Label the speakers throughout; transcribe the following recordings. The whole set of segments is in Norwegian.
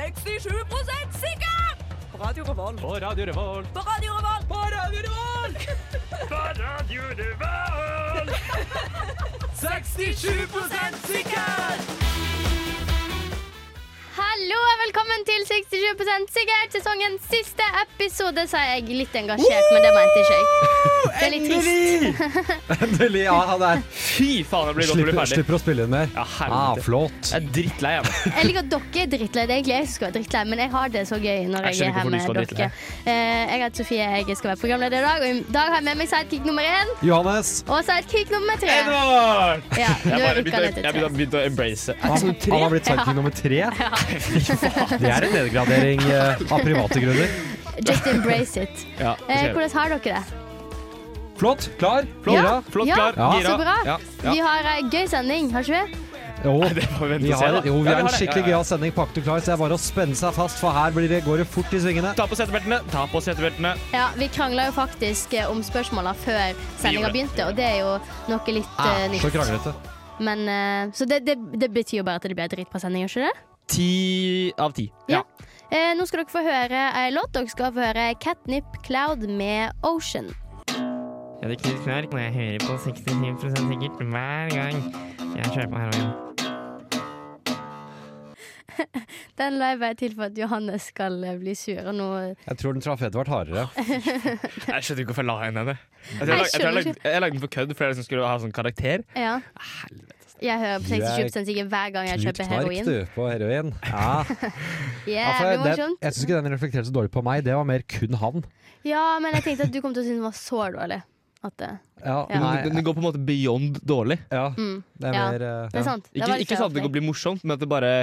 Speaker 1: 67 sikker! På Radio Revolt.
Speaker 2: På Radio Revolt.
Speaker 1: På Radio Revolt. På Radio Revolt!
Speaker 2: 67 sikker!
Speaker 3: Hallo og velkommen til 67 sikkert, sesongens siste episode, sa jeg litt engasjert, men det mente ikke jeg. Det er litt trist.
Speaker 4: Endelig! Ja, han er
Speaker 2: Fy faen, det blir godt å bli
Speaker 4: slipper,
Speaker 2: ferdig.
Speaker 4: slipper å spille inn mer.
Speaker 2: Ja,
Speaker 4: Ah,
Speaker 2: helvete.
Speaker 4: flott.
Speaker 2: Jeg er drittlei av det.
Speaker 3: Jeg liker at dere er drittlei. Det er egentlig jeg som skal være drittlei, men jeg har det så gøy når
Speaker 2: Jeg
Speaker 3: jeg,
Speaker 2: skjønner
Speaker 3: er her
Speaker 2: ikke
Speaker 3: med
Speaker 2: hvorfor du skal være
Speaker 3: dere. Eh, Jeg heter Sofie, jeg skal være programleder i dag, og i dag har jeg med meg sidekick nummer én
Speaker 4: Johannes.
Speaker 3: og sidekick nummer tre.
Speaker 2: Edvard!
Speaker 3: Ja, nå
Speaker 2: Jeg
Speaker 3: er
Speaker 2: bare
Speaker 3: rukka
Speaker 2: begynte,
Speaker 3: ned til
Speaker 2: jeg begynte,
Speaker 3: tre.
Speaker 2: begynte å embrace.
Speaker 4: Han, han har blitt sidekick nummer tre. Det er en nedgradering eh, av private grunner.
Speaker 3: Just embrace it.
Speaker 2: Ja,
Speaker 3: Eh,
Speaker 2: det skjer.
Speaker 3: hvordan har dere det?
Speaker 4: Flott. Klar.
Speaker 2: flott,
Speaker 4: Gira.
Speaker 2: flott,
Speaker 3: Ja,
Speaker 2: klar,
Speaker 4: ja.
Speaker 2: gira.
Speaker 3: Så bra.
Speaker 2: Ja, ja.
Speaker 3: Vi har ei gøy sending, har ikke vi?
Speaker 4: Jo,
Speaker 2: Det får vi
Speaker 4: vi
Speaker 2: vente og se,
Speaker 4: har,
Speaker 2: da.
Speaker 4: jo, vi
Speaker 2: Ja,
Speaker 4: har en
Speaker 2: det.
Speaker 4: skikkelig
Speaker 2: Ja, ja.
Speaker 4: gøyal sending på Aktiv Klar, så det er bare å spenne seg fast, for her blir det, går det fort i svingene.
Speaker 2: Ta på setebeltene, ta på setebeltene.
Speaker 3: Ja, Vi krangla jo faktisk eh, om spørsmåla før sendinga
Speaker 2: gjorde det.
Speaker 3: begynte, og det er jo noe litt eh,
Speaker 4: Ah, så
Speaker 3: nytt.
Speaker 4: kranglete.
Speaker 3: Men, eh, så det, det, det betyr jo bare at det blir dritbra sending, gjør ikke det?
Speaker 2: Ti av ti.
Speaker 3: Ja. Eh, nå skal dere få høre ei låt. Dere skal få høre Catnip Cloud med Ocean.
Speaker 5: Jeg hadde knust knark når jeg hører på 67 sikkert hver gang jeg kjører på heroin.
Speaker 3: Den la jeg bare til for at Johannes skal eh, bli sur. Og nå
Speaker 4: Jeg tror den traff Edvard hardere.
Speaker 2: Jeg skjønnner ikke hvorfor jeg la inn henne. Jeg, tror jeg, lag-
Speaker 3: Jeg
Speaker 2: jeg, tror jeg,
Speaker 3: skjønner
Speaker 2: lagde, jeg lagde den for kødd, for jeg liksom skulle ha sånn karakter.
Speaker 3: Ja. Jeg hører på
Speaker 4: Du er
Speaker 3: 67 sikkert hver gang jeg
Speaker 4: Knut
Speaker 3: kjøper
Speaker 4: Knark,
Speaker 3: heroin.
Speaker 4: du, på heroin. Ja. Ja, for
Speaker 3: Jævlig
Speaker 4: jeg- den,
Speaker 3: morsomt.
Speaker 4: jeg syns ikke den reflekterte så dårlig på meg, det var mer kun han.
Speaker 3: Ja, men jeg tenkte at du kom til å synes den var så dårlig. At eh, det,
Speaker 4: Ja,
Speaker 3: Ja.
Speaker 4: nei,
Speaker 2: Den, den går på en måte beyond dårlig.
Speaker 4: ja,
Speaker 3: mm,
Speaker 4: det er
Speaker 3: Ja.
Speaker 4: mer eh,
Speaker 3: det er sant. Det
Speaker 2: Ikke,
Speaker 3: var litt
Speaker 2: ikke
Speaker 3: feil
Speaker 2: sånn at det
Speaker 3: opplegg.
Speaker 2: blir morsomt, men at det bare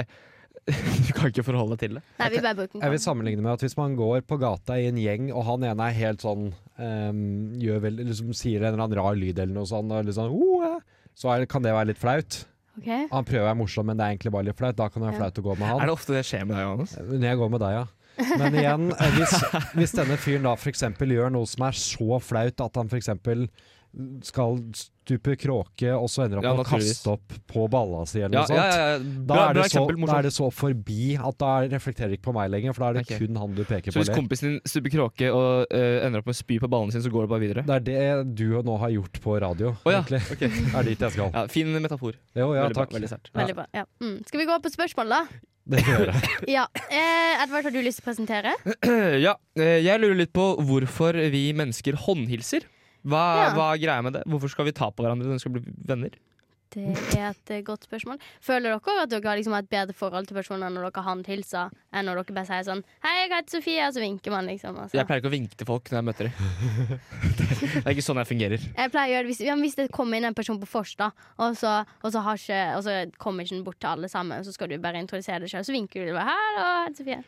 Speaker 2: Du kan ikke forholde deg til det.
Speaker 3: Nei, vi bare bruker
Speaker 4: Jeg vil
Speaker 3: den.
Speaker 4: sammenligne med at hvis man går på gata i en gjeng, og han ene er helt sånn ehm, gjør vel, liksom, Sier en eller annen rar lyd eller noe sånt, og litt sånn, «Oh, eh», så er, kan det være litt flaut.
Speaker 3: Ok.
Speaker 4: Han prøver å være morsom, men det er egentlig bare litt flaut. Da kan det være
Speaker 3: Ja.
Speaker 4: flaut å gå med
Speaker 2: Er
Speaker 4: han.
Speaker 2: det ofte det skjer med deg, Johannes?
Speaker 4: Når jeg går med deg, ja. Men igjen, eh, hvis, hvis denne fyren da f.eks. gjør noe som er så flaut at han f.eks. skal stupe kråke, og så ender
Speaker 2: Ja,
Speaker 4: han på å
Speaker 2: naturligvis.
Speaker 4: kaste opp på balla si eller
Speaker 2: Ja,
Speaker 4: noe
Speaker 2: ja,
Speaker 4: sånt.
Speaker 2: ja, ja.
Speaker 4: Da
Speaker 2: Bra, bra
Speaker 4: er, det så,
Speaker 2: eksempel.
Speaker 4: da er
Speaker 2: Morsomt.
Speaker 4: det så forbi at da reflekterer det ikke på meg lenger, for da er det
Speaker 2: Ok.
Speaker 4: kun han du peker
Speaker 2: Så
Speaker 4: på.
Speaker 2: hvis
Speaker 4: eller?
Speaker 2: kompisen din stuper kråke og eh, ender opp med spy på ballene sine, så går det bare videre?
Speaker 4: Det er det du og nå har gjort på radio,
Speaker 2: Å ja,
Speaker 4: egentlig.
Speaker 2: ok.
Speaker 4: Det er dit jeg skal.
Speaker 2: Ja, fin metafor.
Speaker 4: Jo, ja,
Speaker 2: veldig
Speaker 4: takk.
Speaker 2: Bra, veldig sært.
Speaker 3: Veldig bra. Ja. Mm. Skal vi gå på spørsmål, da?
Speaker 4: Det kan jeg gjøre.
Speaker 3: Ja. Eh, Edvard, har du lyst til å presentere?
Speaker 2: Ja, eh, jeg lurer litt på hvorfor vi mennesker håndhilser. Hva,
Speaker 3: Ja.
Speaker 2: hva er greia med det? Hvorfor skal vi ta på hverandre når vi skal bli venner?
Speaker 3: Det er et eh, godt spørsmål. Føler dere også at dere har liksom et bedre forhold til personer når dere håndhilser, enn når dere bare sier sånn 'Hei, jeg heter Sofie', og så vinker man, liksom? Altså.
Speaker 2: Jeg pleier ikke å vinke til folk når jeg møter dem. det er ikke sånn jeg fungerer.
Speaker 3: Jeg pleier å gjøre det hvis, ja, men hvis det kommer inn en person på vors, da, og så, og så, har ikke, og så kommer ikke den bort til alle sammen, og så skal du bare introdusere deg sjøl, så vinker du bare 'Hallo, jeg heter Sofie'.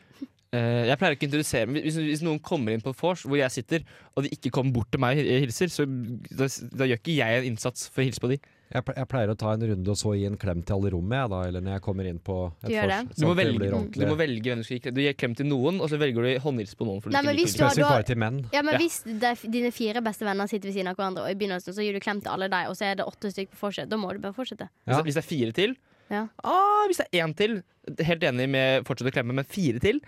Speaker 2: Eh, jeg pleier ikke å introdusere men hvis, hvis noen kommer inn på vors hvor jeg sitter, og de ikke kommer bort til meg og hilser, så da, da gjør ikke jeg en innsats for å hilse på de.
Speaker 4: Jeg ple- jeg pleier å ta en runde og så gi en klem til alle i rommet, jeg, da, eller når jeg kommer inn på et
Speaker 3: Du gjør det?
Speaker 4: vors,
Speaker 2: Du må,
Speaker 4: sånn at det
Speaker 2: velge,
Speaker 4: blir
Speaker 2: du
Speaker 4: ordentlig.
Speaker 2: må velge hvem du skal gi klem Du gir klem til noen, og så velger du håndhilse på noen. For du
Speaker 3: Nei,
Speaker 2: ikke
Speaker 3: men
Speaker 2: liker
Speaker 3: hvis
Speaker 2: dem.
Speaker 3: du har-
Speaker 4: Spesielt bare til menn.
Speaker 3: Ja, men
Speaker 2: Ja.
Speaker 3: hvis de, dine fire beste venner sitter ved siden av hverandre, og i begynnelsen så gir du klem til alle de, og så er det åtte stykker på vorset, da må du bare fortsette.
Speaker 2: Hvis,
Speaker 4: Ja.
Speaker 2: det- hvis det er fire til
Speaker 3: Ja.
Speaker 2: ah, Hvis det er én til, helt enig med fortsett å klemme, men fire til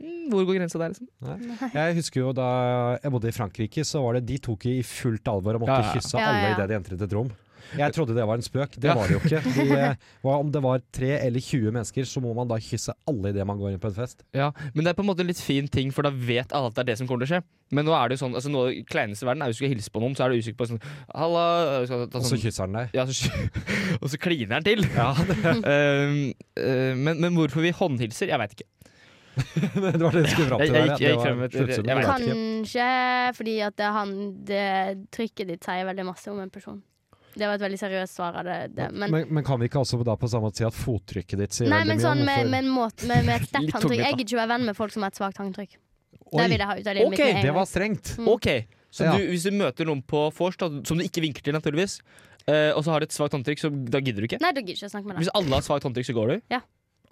Speaker 2: mm, Hvor går grensa der, liksom?
Speaker 4: Jeg husker jo da jeg bodde i Frankrike, så var det de tok i fullt alvor og måtte
Speaker 2: Ja, ja.
Speaker 4: kysse
Speaker 3: Ja, ja,
Speaker 4: alle
Speaker 3: ja.
Speaker 4: idet de entret et rom. Jeg trodde det var en spøk, det
Speaker 2: Ja.
Speaker 4: var det jo ikke. De, eh, hva om det var tre eller 20 mennesker, så må man da kysse alle idet man går inn på en fest.
Speaker 2: Ja, Men det er på en måte en litt fin ting, for da vet alle at det er det som kommer til å skje. Men nå er det jo sånn, altså noe av det kleineste i verden er hvis du skal hilse på noen, så er du usikker på sånn Halla skal ta
Speaker 4: Og så
Speaker 2: sånn,
Speaker 4: kysser han deg.
Speaker 2: ja, så, Og så kliner han til!
Speaker 4: Ja, det,
Speaker 2: Um, uh, men, men hvorfor vi håndhilser? Jeg veit ikke.
Speaker 4: det var det du skulle fram
Speaker 2: Jeg-
Speaker 4: til
Speaker 2: jeg
Speaker 4: der. ja.
Speaker 2: gikk- jeg
Speaker 4: Det
Speaker 2: gikk
Speaker 4: var
Speaker 2: frem med et-
Speaker 4: sluttsummen.
Speaker 2: jeg vet
Speaker 4: Jeg vet ikke.
Speaker 3: Kanskje fordi at det, han, det trykket ditt sier veldig masse om en person. Det var et veldig seriøst svar av det. det. Men,
Speaker 4: men, men kan vi ikke også da på samme måte si at fottrykket ditt sier
Speaker 3: nei,
Speaker 4: veldig
Speaker 3: men
Speaker 4: mye?
Speaker 3: sånn
Speaker 4: om
Speaker 3: med,
Speaker 4: hvorfor-
Speaker 3: med, en måte, med, med et sterkt
Speaker 2: Litt
Speaker 3: håndtrykk.
Speaker 2: tungvint,
Speaker 3: Jeg
Speaker 2: da.
Speaker 3: gidder ikke å være venn med folk som har et svakt håndtrykk.
Speaker 4: Oi,
Speaker 3: Det vil jeg ha ut av livet mitt
Speaker 2: Ok,
Speaker 3: med en
Speaker 4: det
Speaker 3: gang.
Speaker 4: var strengt!
Speaker 3: Mm.
Speaker 2: Ok, Så
Speaker 4: Ja.
Speaker 2: du, hvis du møter noen på vors da, som du ikke vinker til, naturligvis, eh, og så har du et svakt håndtrykk, så da gidder du ikke?
Speaker 3: Nei, da gidder jeg ikke å snakke med deg.
Speaker 2: Hvis alle har svakt håndtrykk, så går du?
Speaker 3: Ja.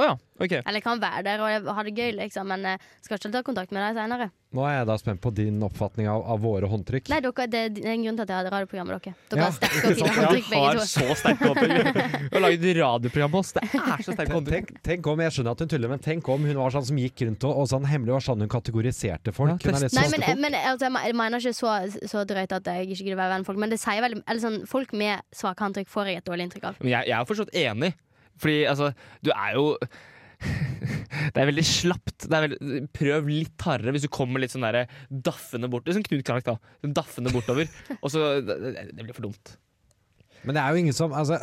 Speaker 2: Å ja, ok.
Speaker 3: Eller kan være der og ha det gøy, liksom, men eh, skal ikke ta kontakt med deg seinere.
Speaker 4: Nå er jeg da spent på din oppfatning av, av våre håndtrykk.
Speaker 3: Nei, dere, det er en grunn til at jeg hadde radioprogram med dere. Dere
Speaker 4: Ja,
Speaker 3: har sterke og fine
Speaker 2: Jeg
Speaker 3: håndtrykk,
Speaker 2: har
Speaker 3: begge to.
Speaker 2: så sterke håndtrykk. Vi har laget radioprogram på oss. Det er så sterke
Speaker 4: Tenk,
Speaker 2: håndtrykk.
Speaker 4: tenk, tenk om, Jeg skjønner at hun tuller, men tenk om hun var sånn som gikk rundt og, og sånn hemmelig var sånn hun kategoriserte folk.
Speaker 2: Ja,
Speaker 4: hun er litt
Speaker 3: Nei,
Speaker 4: sånn-
Speaker 3: men, men altså, jeg me- jeg mener ikke så, så drøyt at jeg ikke gidder være venn med folk, men det sier veldig Eller sånn, folk med svake håndtrykk får jeg et dårlig inntrykk av.
Speaker 2: Men jeg, jeg er jo fortsatt enig. Fordi altså, du er jo Det er veldig slapt. Det er veldig, prøv litt hardere hvis du kommer litt sånn der daffende bort. Litt sånn Knut Karlak, da. Sånn Daffende bortover. Og så det, det blir for dumt.
Speaker 4: Men det er jo ingen som altså,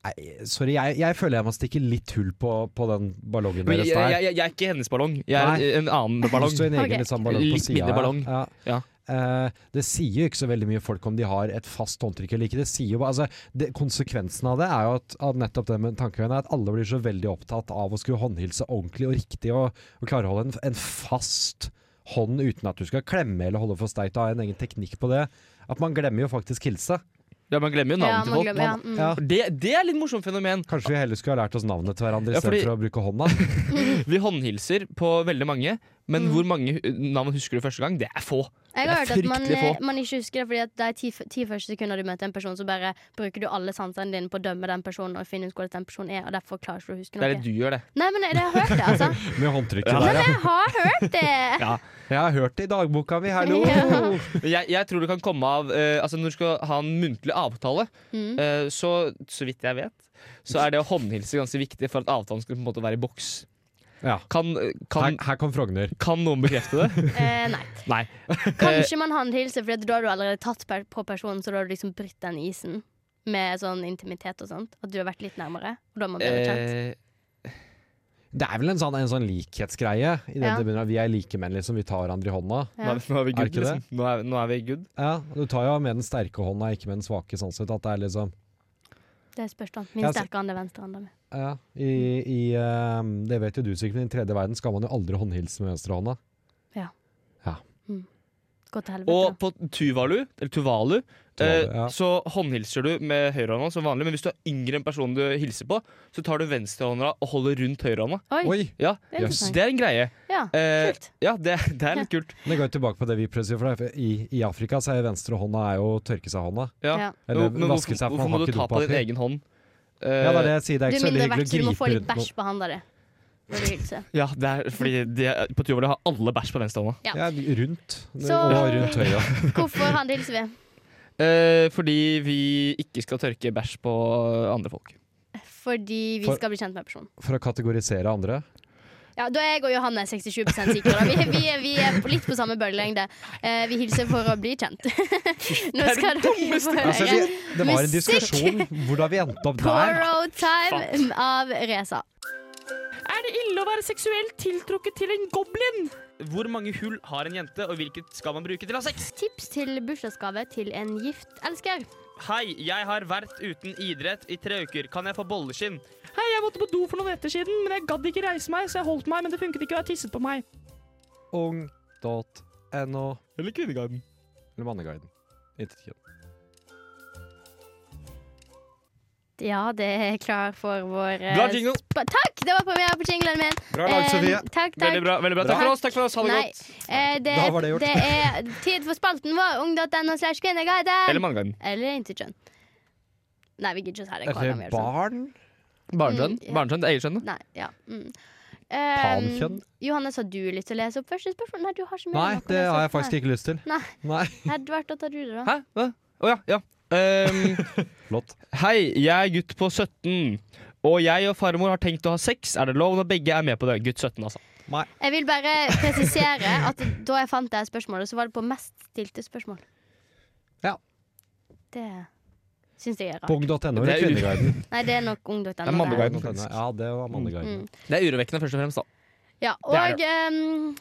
Speaker 4: nei, Sorry, jeg, jeg føler jeg må stikke litt hull på, på den ballongen
Speaker 2: Men
Speaker 4: deres
Speaker 2: jeg,
Speaker 4: der.
Speaker 2: jeg, jeg er ikke hennes ballong. Jeg er
Speaker 4: Nei.
Speaker 2: en annen ballong.
Speaker 4: Også en egen
Speaker 3: Ok.
Speaker 4: litt sånn ballong på
Speaker 2: Litt
Speaker 4: siden,
Speaker 2: mindre ballong.
Speaker 4: Ja.
Speaker 2: Ja.
Speaker 4: Eh, det sier jo ikke så veldig mye folk om de har et fast håndtrykk eller ikke. Det sier jo, bare- altså, det, konsekvensen av det er jo at, at nettopp det med tankegangen er at alle blir så veldig opptatt av å skulle håndhilse ordentlig og riktig og, og klare å holde en, en fast hånd uten at du skal klemme eller holde for steit og ha en egen teknikk på det. At man glemmer jo faktisk hilse.
Speaker 2: ja, man glemmer jo
Speaker 3: Ja,
Speaker 2: navnet til
Speaker 3: man
Speaker 2: folk.
Speaker 3: glemmer, ja. Mm.
Speaker 4: Ja.
Speaker 2: For Det, det er litt morsomt fenomen.
Speaker 4: Kanskje vi heller skulle ha lært oss navnet til hverandre
Speaker 2: Ja,
Speaker 4: istedenfor
Speaker 2: fordi-
Speaker 4: for å bruke hånda.
Speaker 2: Vi håndhilser på veldig mange, men
Speaker 3: Mm.
Speaker 2: hvor mange hu- navn husker du første gang? Det er få.
Speaker 3: Jeg
Speaker 2: Det
Speaker 3: har
Speaker 2: er
Speaker 3: hørt at man,
Speaker 2: fryktelig få.
Speaker 3: eh, man ikke husker det fordi at de ti, ti første sekunder du møter en person, så bare bruker du alle sansene dine på å dømme den personen og finne ut hvordan den personen er, og derfor klarer ikke du å huske
Speaker 2: Det er det
Speaker 3: noe.
Speaker 2: du gjør, det.
Speaker 3: Nei, men jeg, jeg har hørt det, altså.
Speaker 4: Med håndtrykket
Speaker 3: Men
Speaker 4: der, ja.
Speaker 3: jeg har hørt det!
Speaker 4: Jeg har hørt det i dagboka mi, hallo!
Speaker 3: Ja.
Speaker 2: Men Jeg, jeg tror det kan komme av eh, Altså Når du skal ha en muntlig avtale,
Speaker 3: Mm.
Speaker 2: eh, så så vidt jeg vet, så er det å håndhilse ganske viktig for at avtalen skal på en måte være i boks.
Speaker 4: Ja.
Speaker 2: Kan,
Speaker 4: Her,
Speaker 2: kan,
Speaker 4: her kom Frogner.
Speaker 2: kan noen bekrefte det?
Speaker 3: Eh, nei.
Speaker 2: Nei.
Speaker 3: Kanskje
Speaker 2: Eh,
Speaker 3: man håndhilser, for da har du allerede tatt per, på personen, så da har du liksom brutt den isen. Med sånn intimitet og sånt. At du har vært litt nærmere. Og da har man bedre kjent.
Speaker 2: Eh,
Speaker 4: Det er vel en sånn, en sånn likhetsgreie. I den
Speaker 3: Ja.
Speaker 4: det begynner, at vi er likemenn, liksom. Vi tar hverandre i hånda.
Speaker 2: nå,
Speaker 3: Ja.
Speaker 2: er vi, nå er vi
Speaker 4: Er
Speaker 2: good,
Speaker 4: ikke det?
Speaker 2: liksom. Nå er, vi- nå er vi good.
Speaker 4: Ja, Du tar jo med den sterke hånda, ikke med den svake. sånn sett At det er liksom
Speaker 3: Det spørs, da.
Speaker 4: Ja,
Speaker 3: Min
Speaker 4: altså-
Speaker 3: sterke hånd er venstre hånda mi.
Speaker 4: ja, i, i, ehm, Det vet jo du sikkert, men i den tredje verden skal man jo aldri håndhilse med venstrehånda.
Speaker 3: Gå til helvete.
Speaker 2: Og på Tuvalu, eller Tuvalu, eh,
Speaker 4: Tuvalu, ja.
Speaker 2: så håndhilser du med høyrehånda som vanlig. Men hvis du er yngre enn personen du hilser på, så tar du venstrehånda og holder rundt høyrehånda.
Speaker 3: da. Oi,
Speaker 4: Oi!
Speaker 2: Ja,
Speaker 3: det er
Speaker 4: jøss.
Speaker 2: så
Speaker 3: interessant.
Speaker 2: det er en greie.
Speaker 3: Ja,
Speaker 2: Eh,
Speaker 3: kult.
Speaker 2: ja, det, det er litt kult.
Speaker 4: Det går jo tilbake på det vi prøvde å si. For det er- i, I Afrika så er venstrehånda er jo å tørke seg hånda.
Speaker 2: Ja.
Speaker 3: Ja.
Speaker 2: Jo,
Speaker 4: Eller
Speaker 2: men
Speaker 4: vaske seg, for man
Speaker 2: hvorfor må
Speaker 4: har
Speaker 2: du
Speaker 4: ikke
Speaker 2: ta på din
Speaker 4: dopapir.
Speaker 2: egen hånd?
Speaker 4: Ja, det er
Speaker 2: Eh,
Speaker 4: det jeg sier. Det er
Speaker 3: Du er
Speaker 4: ikke så veldig
Speaker 3: mindreverdig, så du
Speaker 4: hyggelig å
Speaker 3: må få
Speaker 4: gripe
Speaker 3: litt
Speaker 4: rundt noe.
Speaker 3: bæsj på handa di. Når du hilser.
Speaker 2: Eh, ja, det er fordi de, på Tuvalu har alle bæsj på venstrehånda.
Speaker 4: Ja, rundt.
Speaker 3: Så-
Speaker 4: Og rundt høya.
Speaker 3: Hvorfor håndhilser vi?
Speaker 2: Eh, fordi vi ikke skal tørke bæsj på andre folk.
Speaker 3: Fordi vi
Speaker 4: For-
Speaker 3: skal bli kjent med personen.
Speaker 4: For å kategorisere andre.
Speaker 3: Ja, Da er jeg og Johanne 67 sikre. da. Vi, vi, er- vi er på- litt på samme bølgelengde. Eh, vi hilser for å bli kjent. Nå skal dere få
Speaker 4: Altså, vi,
Speaker 3: høre
Speaker 4: det var en
Speaker 3: Musikk!
Speaker 4: diskusjon hvordan vi endte opp der.
Speaker 3: Poro Time av Reza.
Speaker 2: Er det ille å være seksuelt tiltrukket til en goblin? Hvor mange hull har en jente, og hvilket skal man bruke til å ha sex?
Speaker 3: Tips til bursdagsgave til en gift elsker.
Speaker 2: Hei, jeg har vært uten idrett i tre uker. Kan jeg få bolleskinn? Hei, jeg måtte på do for noen netter siden, men jeg gadd ikke reise meg, så jeg holdt meg, men det funket ikke, og jeg tisset på meg.
Speaker 4: Ung.no
Speaker 2: Eller Kvinneguiden.
Speaker 4: eller Manneguiden. Intet kjønn.
Speaker 3: Ja, det er klar for vår eh,
Speaker 2: Bra jingle.
Speaker 3: spa- Takk! Det var premiere på jinglen min.
Speaker 4: Bra
Speaker 3: Eh, takk,
Speaker 2: Veldig
Speaker 3: takk.
Speaker 2: bra. veldig bra. Takk for oss. takk for oss, Ha det
Speaker 3: Nei,
Speaker 2: godt.
Speaker 3: eh, det,
Speaker 4: Da var det gjort.
Speaker 3: det er tid for spalten vår. Ung.no slash kvinneguiden.
Speaker 2: Eller Manneguiden.
Speaker 3: Eller intet kjønn. Nei, vi gidder ikke å ta det. hver gang vi
Speaker 4: Eller
Speaker 3: gjør det sånn.
Speaker 4: barn?
Speaker 2: Barnekjønn.
Speaker 3: Mm, ja.
Speaker 2: Barnekjønn, Eget kjønn. da.
Speaker 3: Nei, ja. Mm.
Speaker 4: Pankjønn?
Speaker 3: Eh, Johannes, har du lyst til å lese opp første spørsmål? Nei, du har ikke
Speaker 4: Nei, det har jeg faktisk ikke lyst til.
Speaker 3: Nei.
Speaker 4: Nei.
Speaker 3: Edvard, da tar du det, da.
Speaker 2: Hæ? Hva? Å ja. ja. Ehm,
Speaker 4: Flott.
Speaker 2: Hei, jeg er gutt på 17. Og jeg og farmor har tenkt å ha sex. Er det lov når begge er med på det? Gutt 17, altså.
Speaker 3: Jeg vil bare presisere at da jeg fant det spørsmålet, så var det på mest stilte spørsmål.
Speaker 4: Ja.
Speaker 3: Det syns jeg er rart.
Speaker 4: Pung.no eller
Speaker 2: Det er u-
Speaker 4: Kvinneguiden?
Speaker 3: Nei, det er nok ung.no.
Speaker 2: er manneguiden.
Speaker 4: Pung.no. Ja, det var Manneguiden.
Speaker 3: Mm.
Speaker 2: Det er urovekkende, først og fremst. da
Speaker 3: Ja, og
Speaker 2: Det er
Speaker 3: ehm,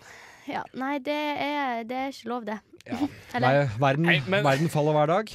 Speaker 3: ja, Nei, det er, det er ikke lov, det.
Speaker 4: Ja. Nei,
Speaker 3: Eller
Speaker 4: verden,
Speaker 2: Nei, men-
Speaker 4: verden faller hver dag.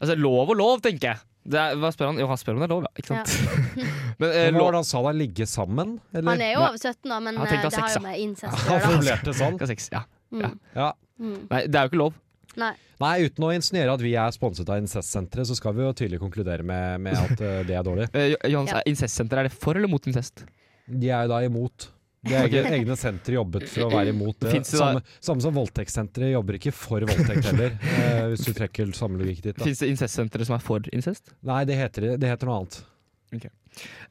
Speaker 2: Altså, Lov og lov, tenker jeg. Det er, hva spør han? Jo, han spør om det er lov, ja. Ikke sant? Men, eh,
Speaker 4: Men hva
Speaker 2: lov,
Speaker 4: var det han sa da? Ligge sammen? Eller?
Speaker 3: Han er jo over 17 da, men
Speaker 2: Jeg har
Speaker 3: eh,
Speaker 2: tenkt å ha
Speaker 3: det har
Speaker 2: sex,
Speaker 3: jo
Speaker 2: da.
Speaker 3: med incest å
Speaker 4: Han
Speaker 3: gjøre. da.
Speaker 4: formulerte sånn.
Speaker 2: ikke ha sex, ja.
Speaker 3: Mm,
Speaker 4: Ja.
Speaker 3: mm.
Speaker 2: Nei, det er jo ikke lov.
Speaker 3: Nei.
Speaker 4: Nei, uten å insinuere at vi er sponset av Incestsenteret, så skal vi jo tydelig konkludere med, med at eh, det er dårlig.
Speaker 2: Eh, Jo- Johannes,
Speaker 3: Ja.
Speaker 2: er Incestsenter, er det for eller mot incest?
Speaker 4: De er jo da imot. De er
Speaker 2: Ok.
Speaker 4: egne, egne sentre jobbet for å være imot det.
Speaker 2: Finnes det da-
Speaker 4: Samme, samme som voldtektssenteret jobber ikke for voldtekt heller, eh, hvis du trekker samme logikk dit. Da.
Speaker 2: Fins det incestsentre som er for incest?
Speaker 4: Nei, det heter, det heter noe annet.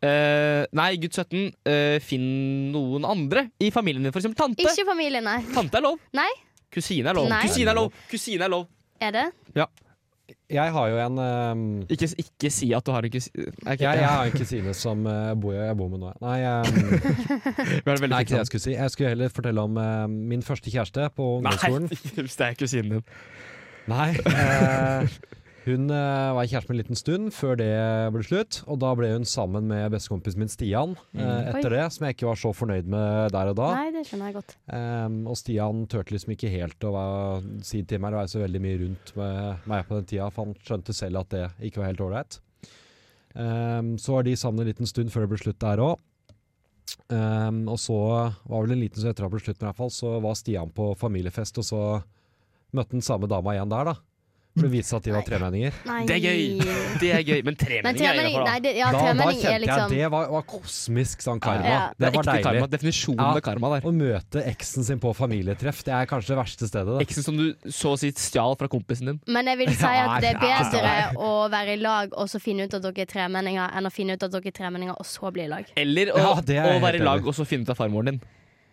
Speaker 2: Eh, nei, gutt 17, eh, finn noen andre i familien din, for eksempel tante.
Speaker 3: Ikke familie, nei.
Speaker 2: Tante er lov.
Speaker 3: Nei.
Speaker 2: Kusine er lov.
Speaker 3: Nei.
Speaker 2: Kusine er lov. Kusine er lov.
Speaker 3: Er det?
Speaker 4: Jeg har jo en ehm,
Speaker 2: Ikke, ikke si at du har en eh, kusine. Okay.
Speaker 4: jeg, jeg har en kusine som eh, bor, jeg bor med nå. Nei, ehm,
Speaker 2: Vi har det veldig
Speaker 4: nei, ikke det
Speaker 2: fint
Speaker 4: jeg skulle si. Jeg skulle heller fortelle om eh, min første kjæreste på
Speaker 2: sammen.
Speaker 4: ungdomsskolen.
Speaker 2: Nei, ikke hvis det er kusinen din.
Speaker 4: Nei. eh, hun eh, var kjæreste med en liten stund før det ble slutt. Og da ble hun sammen med bestekompisen min Stian eh,
Speaker 2: Mm.
Speaker 4: etter det, som jeg ikke var så fornøyd med der og da.
Speaker 3: Nei, det skjønner jeg godt.
Speaker 4: Ehm, og Stian turte liksom ikke helt å være, si til meg, det var så veldig mye rundt med meg på den tida, for han skjønte selv at det ikke var helt ålreit. Ehm, så var de sammen en liten stund før det ble slutt der òg. og så var vel en liten stund etter at det ble slutt, men i hvert fall, så var Stian på familiefest, og så møtte han samme dama igjen der, da. For det viste seg at de var tremenninger.
Speaker 3: Nei.
Speaker 2: Det er gøy. Det er gøy, men
Speaker 3: Men
Speaker 2: tremenning er
Speaker 3: tremenning,
Speaker 2: innafor,
Speaker 3: nei,
Speaker 2: da.
Speaker 3: det, ja,
Speaker 4: Da, da
Speaker 3: tremenning
Speaker 4: kjente
Speaker 3: er liksom
Speaker 4: jeg det var, var kosmisk sånn karma.
Speaker 3: Ja.
Speaker 4: Det var
Speaker 2: ekte
Speaker 4: deilig.
Speaker 2: Karma. Definisjonen
Speaker 4: Ja.
Speaker 2: av karma der.
Speaker 4: Å møte eksen sin på familietreff, det er kanskje det verste stedet. Da.
Speaker 2: Eksen som du så å si stjal fra kompisen din.
Speaker 3: Men jeg vil si at det er
Speaker 4: Nei, nei.
Speaker 3: bedre å være i lag og så finne ut at dere er tremenninger, enn å finne ut at dere er tremenninger og så bli i lag.
Speaker 2: Eller å,
Speaker 4: Ja, det er
Speaker 2: å
Speaker 4: jeg helt
Speaker 2: være i lag
Speaker 4: enig
Speaker 2: og så finne ut av farmoren din.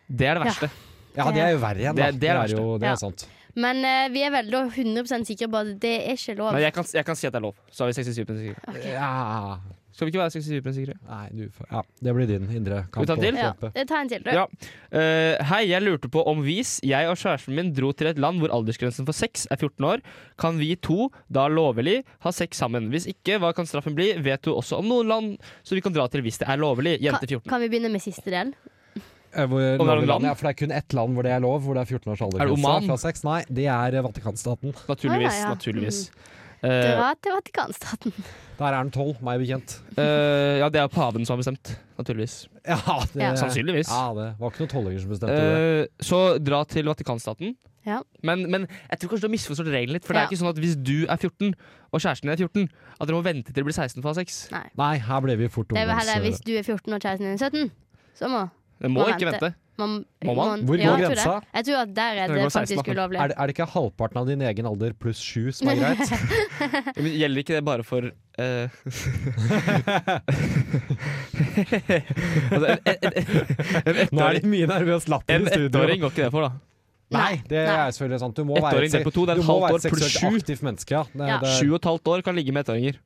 Speaker 2: Det er det
Speaker 3: Ja.
Speaker 2: verste.
Speaker 4: Ja, det er jo verre igjen,
Speaker 2: Det
Speaker 4: da.
Speaker 2: er- det er verste.
Speaker 4: jo det
Speaker 3: Ja.
Speaker 4: er sant.
Speaker 3: Men eh, vi er vel da 100 sikre på at det er ikke lov.
Speaker 2: Men jeg kan, jeg kan si at det er lov. Så har vi 67 sikre.
Speaker 4: Ja.
Speaker 2: Skal vi ikke være 67 sikre?
Speaker 4: Nei, du får Ja, det blir din indre kamp.
Speaker 2: Skal vi ta
Speaker 4: å
Speaker 2: til?
Speaker 3: ja.
Speaker 4: kjempe.
Speaker 3: eh, Ta en til, du.
Speaker 2: Ja. Eh, hei, jeg lurte på om hvis jeg og kjæresten min dro til et land hvor aldersgrensen for sex er 14 år, kan vi to, da lovlig, ha sex sammen? Hvis ikke, hva kan straffen bli? Vet du også om noen land som vi kan dra til hvis det er lovlig? Jente 14.
Speaker 3: Kan vi begynne med siste del?
Speaker 4: Eh, Hvor,
Speaker 2: noe land?
Speaker 4: land, land? Ja, for det er kun ett land hvor det er lov, hvor det er 14 års
Speaker 2: Er det Oman?
Speaker 4: aldergrense fra sex. Nei, det er eh, Vatikanstaten.
Speaker 2: Naturligvis.
Speaker 3: Ah, ja, Mm. ja.
Speaker 2: naturligvis.
Speaker 3: Dra til Vatikanstaten.
Speaker 4: Der er den tolv, meg bekjent.
Speaker 2: Eh, eh, ja, det er paven som har bestemt. Naturligvis.
Speaker 4: Ja, det,
Speaker 3: Ja.
Speaker 2: Sannsynligvis.
Speaker 4: Ja, det var ikke noen tolvåringer som bestemte det.
Speaker 2: Eh, så dra til Vatikanstaten.
Speaker 3: Ja.
Speaker 2: Men, men jeg tror kanskje du har misforstått reglene litt. For det
Speaker 3: Ja.
Speaker 2: er ikke sånn at hvis du er 14, og kjæresten din er 14, at dere må vente til dere blir 16 for å ha sex.
Speaker 4: Nei, her ble vi fort
Speaker 3: Det er vel heller
Speaker 2: eh,
Speaker 3: hvis
Speaker 4: ungdoms...
Speaker 3: du er 14 og kjæresten din er 17. Så må
Speaker 2: Dere må
Speaker 3: Må
Speaker 2: ikke
Speaker 3: vente.
Speaker 2: vente.
Speaker 3: man
Speaker 2: Må man?
Speaker 4: Hvor
Speaker 3: ja,
Speaker 4: går
Speaker 3: jeg tror det.
Speaker 4: grensa?
Speaker 3: Jeg tror at der er
Speaker 2: Den
Speaker 3: det
Speaker 2: går 16,
Speaker 3: faktisk
Speaker 2: da.
Speaker 3: ulovlig.
Speaker 4: Er det, er det ikke halvparten av din egen alder pluss sju som er greit?
Speaker 2: Ja, Men gjelder ikke det bare for eh, altså, en, en, en, en
Speaker 4: Nå er
Speaker 2: ettåring,
Speaker 4: det mye nervøs latter
Speaker 2: en
Speaker 4: i studio.
Speaker 2: ettåring går ikke det for, da.
Speaker 4: Nei, det er selvfølgelig sant. Du må være
Speaker 2: Ettåring
Speaker 4: et,
Speaker 2: delt på to, det er
Speaker 4: du
Speaker 2: et
Speaker 4: må
Speaker 2: halvt
Speaker 4: være
Speaker 2: år
Speaker 4: et
Speaker 2: pluss
Speaker 4: seksuelt
Speaker 2: sju.
Speaker 4: aktivt menneske. Ja. Det,
Speaker 3: Ja.
Speaker 4: det,
Speaker 2: Sju og et halvt år kan ligge med ettåringer.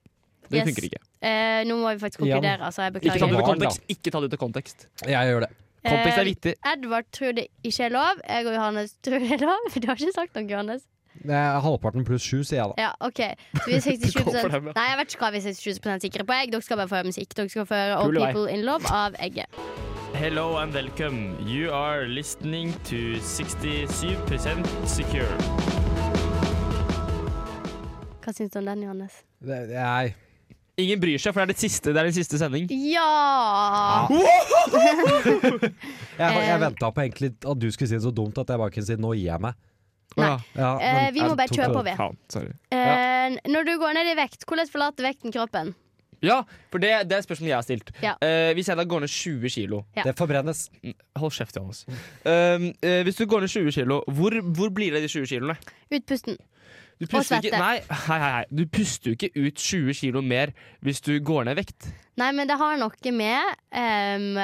Speaker 2: Det
Speaker 3: Yes.
Speaker 2: funker ikke.
Speaker 3: Eh, nå må vi faktisk
Speaker 4: Igjen.
Speaker 3: konkludere, altså. Jeg
Speaker 2: Ikke ta det ut av
Speaker 4: Barn,
Speaker 3: beklager.
Speaker 4: da.
Speaker 2: kontekst. Ikke ta det ut av kontekst.
Speaker 4: jeg gjør det.
Speaker 2: Kontekst
Speaker 3: Eh,
Speaker 2: er viktig.
Speaker 3: Edvard tror det ikke er lov. Jeg og Johannes tror det er lov. Du har ikke sagt noe, Johannes.
Speaker 4: Det er halvparten pluss sju, sier jeg da.
Speaker 3: Ja, ok Så vi er
Speaker 2: Du går
Speaker 3: 67
Speaker 2: for dem, ja.
Speaker 3: Nei, jeg vet ikke hva vi er 67 sikre på. Jeg. Dere skal bare få høre musikk. Dere skal få høre All
Speaker 2: Kul i vei.
Speaker 3: People In Love av Egge.
Speaker 5: Hello and welcome. You are listening to 67% Secure.
Speaker 3: Hva syns du om den, Johannes?
Speaker 4: Det, nei.
Speaker 2: Ingen bryr seg, for det er, det siste, det er den siste sending.
Speaker 3: Ja!
Speaker 4: Jeg, jeg
Speaker 3: Eh,
Speaker 4: venta på egentlig at du skulle si det så dumt at jeg bare kunne si 'nå gir jeg meg'.
Speaker 3: Nei.
Speaker 2: Å,
Speaker 4: Ja, Ah,
Speaker 3: Eh,
Speaker 4: men-
Speaker 3: vi må bare
Speaker 4: tok
Speaker 3: kjøre
Speaker 4: det.
Speaker 3: på, vi.
Speaker 2: Ja, sorry.
Speaker 3: Eh, når du går ned i vekt, hvordan forlater vekten kroppen?
Speaker 2: Ja, for det, det er spørsmålet jeg har stilt.
Speaker 3: Ja.
Speaker 2: Eh, hvis jeg da går ned 20 kilo
Speaker 3: Ja.
Speaker 4: Det forbrennes.
Speaker 2: Hold kjeft, Johannes. Um, eh, hvis du går ned 20 kilo, hvor, hvor blir det de 20 kiloene?
Speaker 3: Utpusten.
Speaker 2: Du puster
Speaker 3: svette.
Speaker 2: Ikke, nei, hei, hei, hei. Du puster jo ikke ut 20 kilo mer hvis du går ned i vekt.
Speaker 3: Nei, men det har noe med ehm,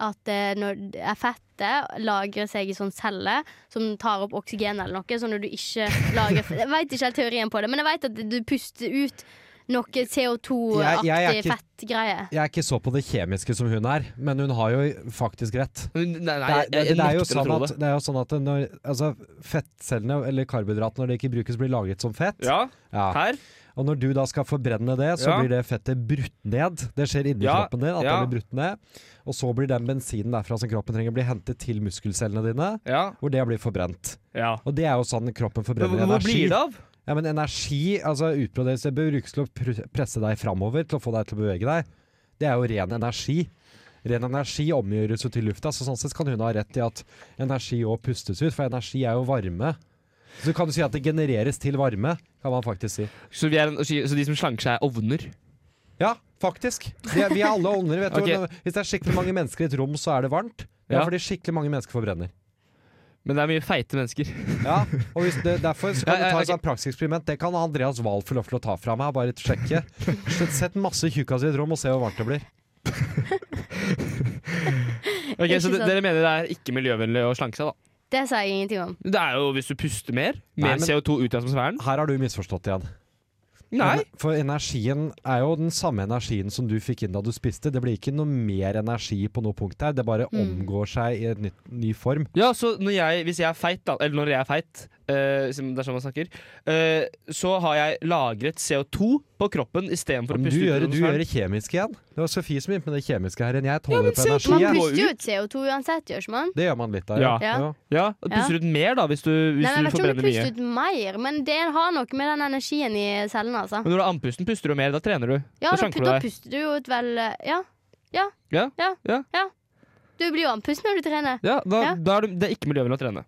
Speaker 3: at eh, når eh, fettet lagrer seg i sånn celler som tar opp oksygen eller noe, så når du ikke lagrer Jeg veit ikke helt teorien på det, men jeg veit at du puster ut noe
Speaker 4: Jeg- jeg er
Speaker 3: CO2-aktig
Speaker 4: ikke-
Speaker 3: fettgreie.
Speaker 4: Jeg er ikke så på det kjemiske som hun er, men hun har jo faktisk rett.
Speaker 2: Nei, nei, jeg,
Speaker 4: Det er, det,
Speaker 2: jeg
Speaker 4: det er jo
Speaker 2: nekter å
Speaker 4: sånn
Speaker 2: tro
Speaker 4: at,
Speaker 2: det.
Speaker 4: det er jo sånn at når, altså, fettcellene, eller karbohydratene, når det ikke brukes, blir lagret som fett.
Speaker 2: Ja,
Speaker 4: Ja.
Speaker 2: her.
Speaker 4: Og når du da skal forbrenne det, så
Speaker 2: Ja.
Speaker 4: blir det fettet brutt ned. Det skjer inni
Speaker 2: Ja,
Speaker 4: kroppen din. at
Speaker 2: ja.
Speaker 4: det blir brutt ned. Og så blir den bensinen derfra som kroppen trenger, blir hentet til muskelcellene dine,
Speaker 2: Ja.
Speaker 4: hvor det blir forbrent.
Speaker 2: ja.
Speaker 4: Og det er jo sånn kroppen
Speaker 2: Men,
Speaker 4: forbrenner
Speaker 2: hvor- hvor
Speaker 4: energi.
Speaker 2: blir det av?
Speaker 4: Ja, men energi, altså utbrodelse, brukes til å pr- presse deg framover, til å få deg til å bevege deg. Det er jo ren energi. Ren energi omgjøres jo til lufta, så sånn sett kan hun ha rett i at energi òg pustes ut, for energi er jo varme. Så kan du si at det genereres til varme, kan man faktisk si.
Speaker 2: Så, vi er en, så de som slanker seg, er ovner?
Speaker 4: Ja, faktisk. Vi er, vi er alle ånder. Vet
Speaker 2: Ok.
Speaker 4: du. Når- Hvis det er skikkelig mange mennesker i et rom, så er det varmt. Det er
Speaker 2: Ja.
Speaker 4: fordi skikkelig mange mennesker forbrenner.
Speaker 2: Men det er mye feite mennesker.
Speaker 4: Ja, og hvis det, Derfor skal
Speaker 2: Ja,
Speaker 4: du
Speaker 2: ja,
Speaker 4: ta
Speaker 2: ok.
Speaker 4: et sånt prakseksperiment. Det kan Andreas Wahl få lov til å ta fra meg. Bare sjekke. Sett- Sett masse tjukkaser i et rom og se hvor varmt det blir.
Speaker 2: Ok,
Speaker 3: Ikke
Speaker 2: Så de-
Speaker 3: sant.
Speaker 2: dere mener det er ikke miljøvennlig å slanke seg, da?
Speaker 3: Det sa jeg ingenting om.
Speaker 2: Det er jo hvis du puster mer. Mer
Speaker 4: Nei, men-
Speaker 2: CO2 ut i atmosfæren.
Speaker 4: Her har du misforstått igjen.
Speaker 2: Nei.
Speaker 4: En- For energien er jo den samme energien som du fikk inn da du spiste. Det blir ikke noe mer energi på noe punkt her. Det bare
Speaker 3: Mm.
Speaker 4: omgår seg i en ny, ny form.
Speaker 2: Ja, så når jeg, hvis jeg er feit, da, eller når jeg er feit, eh, som- det er sånn man snakker, eh, så har jeg lagret CO2 på kroppen istedenfor å
Speaker 4: Men
Speaker 2: puste ut i
Speaker 4: du gjør, du
Speaker 2: atmosfæren.
Speaker 4: gjør det kjemiske igjen. Det var Sofie som begynte med det kjemiske her. enn Jeg
Speaker 2: Ja,
Speaker 4: tåler
Speaker 2: men
Speaker 4: på
Speaker 2: CO2
Speaker 4: energi.
Speaker 2: Skien.
Speaker 3: Man
Speaker 4: jeg.
Speaker 3: puster jo ut CO2 uansett, gjør ikke man?
Speaker 4: Det gjør man litt av,
Speaker 3: Ja.
Speaker 4: Jo.
Speaker 2: Ja, og puster ut mer da hvis du, hvis
Speaker 3: Nei, men
Speaker 2: du
Speaker 3: jeg vet ikke om
Speaker 2: forbrenner
Speaker 3: du puster
Speaker 2: mye.
Speaker 3: ut mer, men det har noe med den energien i cellene, altså.
Speaker 2: Men når du har andpusten, puster du mer. Da trener du. da
Speaker 3: Ja, da,
Speaker 2: slanker du
Speaker 3: da
Speaker 2: deg.
Speaker 3: puster du jo ut vel eh, Ja. Ja.
Speaker 2: Ja,
Speaker 3: Ja.
Speaker 2: ja.
Speaker 3: Du blir jo andpusten når du trener.
Speaker 2: Ja, da,
Speaker 3: Ja.
Speaker 2: da er du, Det er ikke miljøvennlig å trene.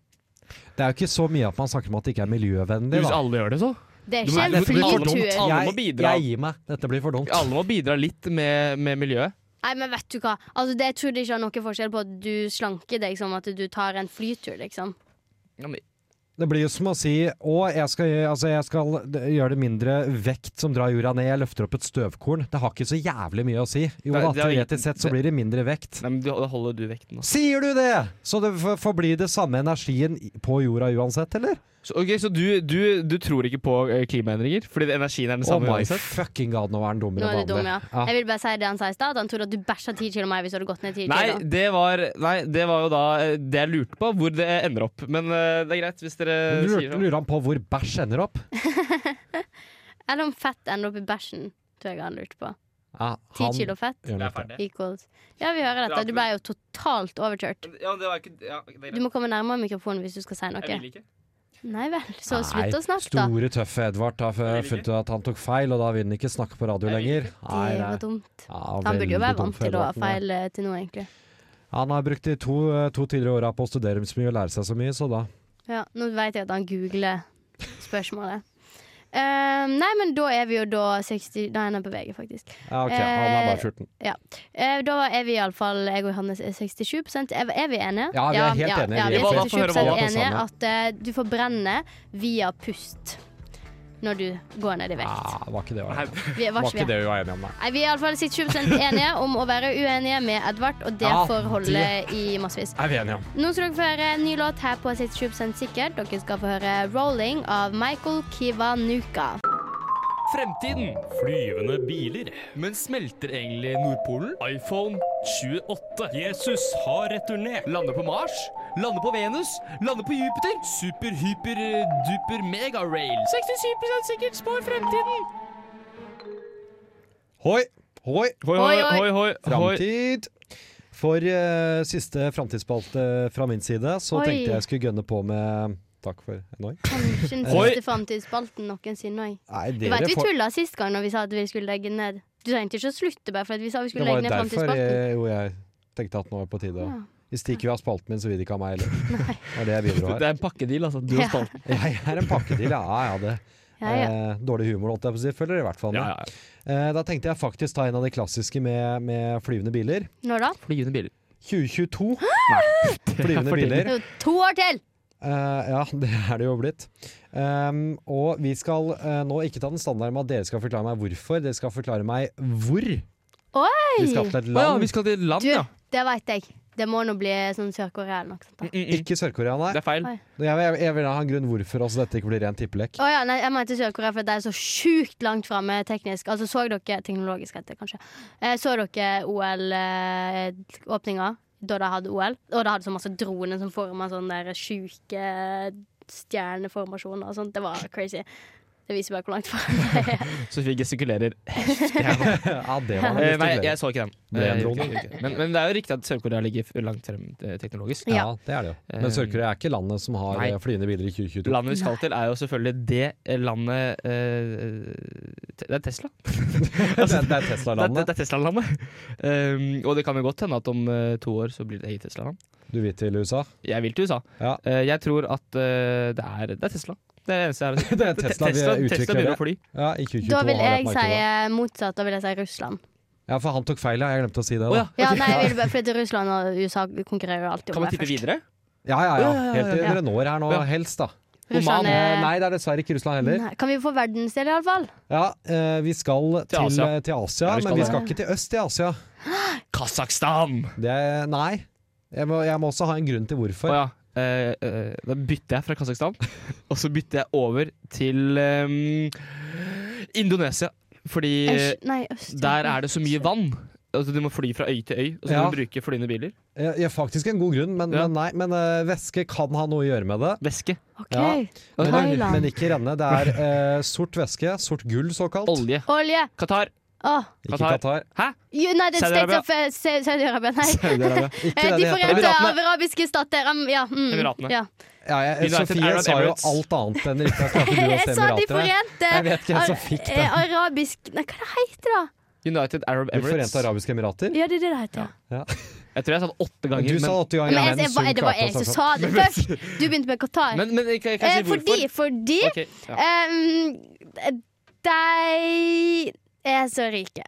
Speaker 4: Det er jo ikke så mye at man snakker om at det ikke er miljøvennlig.
Speaker 2: Hvis
Speaker 4: Da.
Speaker 2: alle gjør det, så.
Speaker 3: Det er
Speaker 2: Du
Speaker 3: ikke
Speaker 2: må-
Speaker 3: en
Speaker 2: du må- alle må-
Speaker 3: flytur.
Speaker 2: alle- må
Speaker 4: Jeg,
Speaker 2: bidra.
Speaker 4: jeg gir meg. Dette blir for dumt.
Speaker 2: Alle må bidra litt med, med miljøet.
Speaker 3: Nei, men vet du hva. Altså, det tror jeg ikke har noen forskjell på at du slanker deg som at du tar en flytur, liksom.
Speaker 4: Det blir jo som å si å, jeg skal, gjø- altså, jeg skal d- gjøre det mindre vekt som drar jorda ned. Jeg løfter opp et støvkorn. Det har ikke så jævlig mye å si. Jo
Speaker 2: Det-
Speaker 4: da,
Speaker 2: det er jo-
Speaker 4: teoretisk sett så blir det mindre vekt.
Speaker 2: Nei, men du- Da holder du vekten. altså. da.
Speaker 4: Sier du det?! Så det f- forblir det samme energien i- på jorda uansett, eller?
Speaker 2: Så, ok, så du, du, du tror ikke på eh, klimaendringer? Fordi det- energien er den
Speaker 4: Oh
Speaker 2: samme?
Speaker 4: my
Speaker 2: uansett?
Speaker 4: fucking god, nå er den
Speaker 3: Nå
Speaker 4: dummere
Speaker 3: er
Speaker 4: enn
Speaker 3: du dum,
Speaker 4: vanlig.
Speaker 3: ja. Jeg vil bare si det han sa i stad, at han trodde at du bæsja ti kilo mer hvis du hadde gått ned ti
Speaker 2: Nei
Speaker 3: kilo.
Speaker 2: det, var, nei, det var jo da eh, det jeg lurte på, hvor det ender opp. Men eh, det er greit hvis dere
Speaker 4: Men Lurer,
Speaker 2: sier sånn. det.
Speaker 4: lurer han på hvor bæsj ender opp?
Speaker 3: Eller om fett ender opp i bæsjen, tror jeg han lurte på.
Speaker 4: Ja,
Speaker 3: Ti
Speaker 4: han
Speaker 3: kilo fett
Speaker 4: gjør nok det.
Speaker 3: equals Ja, vi hører dette. Du ble jo totalt overkjørt.
Speaker 2: Ja, det var ikke ja, det er
Speaker 3: Du må komme nærmere mikrofonen hvis du skal si noe.
Speaker 2: ikke.
Speaker 3: Nei vel, så
Speaker 4: Nei,
Speaker 3: slutt å snakke, da.
Speaker 4: Store, tøffe Edvard har
Speaker 2: Jeg vil
Speaker 4: funnet ut at han tok feil, og da vil han ikke snakke på radio
Speaker 2: Jeg vil
Speaker 4: lenger. Nei,
Speaker 3: Det
Speaker 4: nei.
Speaker 3: var dumt.
Speaker 4: Ja,
Speaker 3: Han burde jo
Speaker 4: veldig
Speaker 3: være
Speaker 4: dum
Speaker 3: vant
Speaker 4: for
Speaker 3: til å ha
Speaker 4: Edvard, men-
Speaker 3: feil eh, til nå, egentlig.
Speaker 4: Han har brukt de to, eh, to tidligere åra på å studere så mye og lære seg så mye, så da
Speaker 3: Ja, nå vet jeg at han googler spørsmålet. Eh, nei, men da er vi jo da 60 Da er han på VG, faktisk.
Speaker 4: Ja, ok, han er bare 14.
Speaker 3: Eh, da er vi iallfall jeg og Johannes er 67 er, er vi enige?
Speaker 4: Ja, vi er helt enige.
Speaker 3: Ja,
Speaker 4: Vi
Speaker 3: vi
Speaker 2: var-
Speaker 3: er 67
Speaker 2: Vi var
Speaker 4: på
Speaker 3: enige
Speaker 4: samme.
Speaker 3: at eh, du får brenne via pust når du går ned i vekt.
Speaker 4: Ah, var ikke det vi var,
Speaker 3: Vi, var
Speaker 4: var
Speaker 3: ikke
Speaker 4: ikke
Speaker 3: vi?
Speaker 4: det vi var enige om, nei.
Speaker 3: Nei, vi er iallfall 67 enige om å være uenige med Edvard, og det
Speaker 4: Ja,
Speaker 3: får holde i massevis.
Speaker 4: Er vi enige om?
Speaker 3: Nå skal dere få høre en ny låt her på 67 sikkert. Dere skal få høre 'Rolling' av Michael Kiwanuka.
Speaker 2: Fremtiden.
Speaker 6: Flyvende biler.
Speaker 2: Men smelter egentlig Nordpolen?
Speaker 6: iPhone 28. Jesus har returnert.
Speaker 2: Lander på Mars? Lander på Venus? Lander på Jupiter? Super, hyper, eh, duper, mega rail.
Speaker 5: 67 sikkert spår fremtiden.
Speaker 4: Hoi! Hoi!
Speaker 2: Hoi,
Speaker 3: Hoi, hoi.
Speaker 2: hoi.
Speaker 4: Framtid! For eh, siste framtidsspalte fra min side, så
Speaker 3: Oi.
Speaker 4: tenkte jeg skulle gønne på med Takk for en oi.
Speaker 3: Kanskje den
Speaker 2: Oi.
Speaker 3: siste framtidsspalten noensinne òg.
Speaker 4: Nei,
Speaker 3: Du vet vi
Speaker 4: får-
Speaker 3: tulla sist gang når vi sa at vi skulle legge den ned. Du trengte ikke å slutte bare for at vi sa vi
Speaker 4: Det
Speaker 3: skulle
Speaker 4: var
Speaker 3: legge
Speaker 4: jo
Speaker 3: ned
Speaker 4: derfor
Speaker 3: framtidsspalten.
Speaker 4: jeg, jo, jeg tenkte at nå var det på tide.
Speaker 3: Ja.
Speaker 4: Hvis de ikke vil ha spalten min, så vil de ikke ha meg heller. Det er det jeg bidro
Speaker 2: Det
Speaker 4: her.
Speaker 2: er en pakkedeal, altså. Du
Speaker 3: Ja.
Speaker 2: og spalten.
Speaker 4: Jeg er en pakkedeal, ja, ja det.
Speaker 3: Ja, ja.
Speaker 4: Eh, dårlig humor, holdt jeg på å si. Følger i hvert fall med.
Speaker 2: Ja, ja.
Speaker 4: Eh, da tenkte jeg faktisk ta en av de klassiske med, med flyvende biler.
Speaker 3: Når da?
Speaker 2: Flyvende biler.
Speaker 4: 2022. Flyvende
Speaker 3: Det
Speaker 4: biler.
Speaker 3: er jo to år til!
Speaker 4: Eh, ja, det er det jo blitt. Um, og vi skal eh, nå ikke ta den standarden med at dere skal forklare meg hvorfor. Dere skal forklare meg hvor. Vi skal til
Speaker 2: Å
Speaker 4: et
Speaker 2: ja,
Speaker 4: land.
Speaker 2: vi skal til land,
Speaker 3: Du,
Speaker 2: ja.
Speaker 3: det veit jeg. Det må nå bli sånn Sør-Korea eller noe sånt. da.
Speaker 4: Ikke Sør-Korea,
Speaker 2: Det
Speaker 4: nei.
Speaker 2: er feil.
Speaker 3: Oi.
Speaker 4: Jeg, jeg, jeg vil ha en grunn hvorfor også dette ikke blir ren tippelek.
Speaker 3: Å ja, nei, jeg mente Sør-Korea, for det er så sjukt langt framme teknisk. Altså, så dere Teknologisk heter det kanskje. Eh, så dere OL-åpninga, da de hadde OL? Og de hadde så masse droner som forma sånne der sjuke eh, stjerneformasjoner og sånt. Det var crazy. Det viser bare hvor langt framme det er.
Speaker 2: Sofie gestikulerer.
Speaker 4: Ja, det
Speaker 2: Eh,
Speaker 4: var det.
Speaker 2: nei, jeg så ikke den.
Speaker 4: Det er en
Speaker 2: Eh,
Speaker 4: drone.
Speaker 2: ikke- ikke- Men, men det er jo riktig at Sør-Korea ligger f- langt frem eh, teknologisk.
Speaker 4: Ja, det er det jo. Men
Speaker 2: Eh,
Speaker 4: Sør-Korea er ikke landet som har
Speaker 2: nei.
Speaker 4: eh, flyvende biler i 2022.
Speaker 2: Landet vi skal til, er jo selvfølgelig det landet eh, te- Det er Tesla.
Speaker 4: Det er, det er
Speaker 2: Det, er-
Speaker 4: Tesla-landet.
Speaker 2: det er Tesla-landet. Um, og det kan jo godt hende at om eh, to år så blir det eget Tesla-land.
Speaker 4: Du vil til USA?
Speaker 2: Jeg vil til USA.
Speaker 4: Ja.
Speaker 2: Eh, jeg tror at eh, det, er, det er Tesla. Det er det eneste jeg har å si.
Speaker 4: Det er Tesla, vi
Speaker 2: Tesla, Tesla
Speaker 4: utvikler
Speaker 2: begynner
Speaker 4: det.
Speaker 2: å fly.
Speaker 4: Ja, i 2022
Speaker 3: Da vil
Speaker 4: har det
Speaker 3: jeg
Speaker 4: et
Speaker 3: si
Speaker 4: marked, da.
Speaker 3: eh, motsatt. Da vil jeg si Russland.
Speaker 4: Ja, for han tok feil, ja. Jeg glemte å si det.
Speaker 2: Å
Speaker 4: da.
Speaker 2: ja.
Speaker 3: Ja,
Speaker 2: ok.
Speaker 3: nei, jeg vil bare, fordi Russland og USA konkurrerer jo alltid
Speaker 2: Kan
Speaker 3: om å
Speaker 2: man
Speaker 3: være
Speaker 2: tippe
Speaker 3: først.
Speaker 2: videre?
Speaker 4: Ja, ja, ja.
Speaker 2: Å, ja, ja,
Speaker 4: Helt til
Speaker 3: ja.
Speaker 4: dere når her nå,
Speaker 2: Ja.
Speaker 4: helst, da.
Speaker 3: Russland
Speaker 4: Eh,
Speaker 3: er
Speaker 4: Nei, det er dessverre ikke Russland heller.
Speaker 3: Nei, Kan vi få verdensdel, iallfall?
Speaker 4: Ja, eh, vi skal til
Speaker 2: Til Asia.
Speaker 4: Asia, til Asia
Speaker 2: Ja, vi skal
Speaker 4: men vi
Speaker 2: det.
Speaker 4: skal ikke til øst i Asia.
Speaker 2: Kasakhstan!
Speaker 4: Det er, nei. Jeg må, jeg må også ha en grunn til hvorfor.
Speaker 2: Å ja. Eh, eh, da bytter jeg fra Kasakhstan, og så bytter jeg over til eh, Indonesia. Fordi
Speaker 3: Øst- Nei, øst.
Speaker 2: Eh, der er det så mye vann. Altså, du må fly fra øy til øy, og så
Speaker 4: Ja.
Speaker 2: må du bruke flyende biler.
Speaker 4: Jeg, jeg, faktisk en god grunn, men,
Speaker 2: Ja.
Speaker 4: men nei. Men eh, væske kan ha noe å gjøre med det.
Speaker 2: Væske.
Speaker 3: OK.
Speaker 4: Ja. Men,
Speaker 3: Thailand.
Speaker 4: men ikke renne. Det er eh, sort væske, sort gull såkalt.
Speaker 2: Olje.
Speaker 3: Olje.
Speaker 2: Qatar.
Speaker 3: Åh.
Speaker 4: Ikke
Speaker 2: Qatar.
Speaker 4: Qatar.
Speaker 3: United States
Speaker 2: Saudi-Arabia.
Speaker 3: of eh, Sa- Saudi-Arabia, nei.
Speaker 4: Saudi-Arabia. Ikke det
Speaker 3: Eh, De
Speaker 4: det heter.
Speaker 3: forente
Speaker 2: Emiratene.
Speaker 3: arabiske stater. em, Ja. Mm,
Speaker 2: Emiratene.
Speaker 3: Ja.
Speaker 4: Ja, jeg,
Speaker 2: United
Speaker 4: Sofie
Speaker 2: Arab
Speaker 4: sa jo
Speaker 2: Emirates.
Speaker 4: alt annet enn riktig. Klarte du å
Speaker 3: Jeg
Speaker 4: se
Speaker 3: sa De
Speaker 4: Emiratene?
Speaker 3: forente
Speaker 4: Jeg vet ikke hvem som
Speaker 3: ar-
Speaker 4: fikk
Speaker 3: eh,
Speaker 4: det.
Speaker 3: Arabisk Nei, hva det heter det?
Speaker 2: United Arab
Speaker 4: De
Speaker 2: Emirates.
Speaker 4: forente arabiske emirater?
Speaker 3: Ja, det er det det heter. ja.
Speaker 2: Jeg tror jeg sa det åtte ganger.
Speaker 4: Du sa åtte ganger.
Speaker 3: Men
Speaker 4: ja,
Speaker 3: jeg,
Speaker 4: mens
Speaker 3: jeg,
Speaker 4: hun
Speaker 3: det var
Speaker 4: klarte å
Speaker 3: jeg som
Speaker 4: ta-
Speaker 3: sa det først! Du begynte med Qatar.
Speaker 2: Men, men jeg kan jeg kan
Speaker 3: Eh,
Speaker 2: si hvorfor.
Speaker 3: fordi fordi Eh. um,
Speaker 2: Ok, ja.
Speaker 3: em, de er så rike.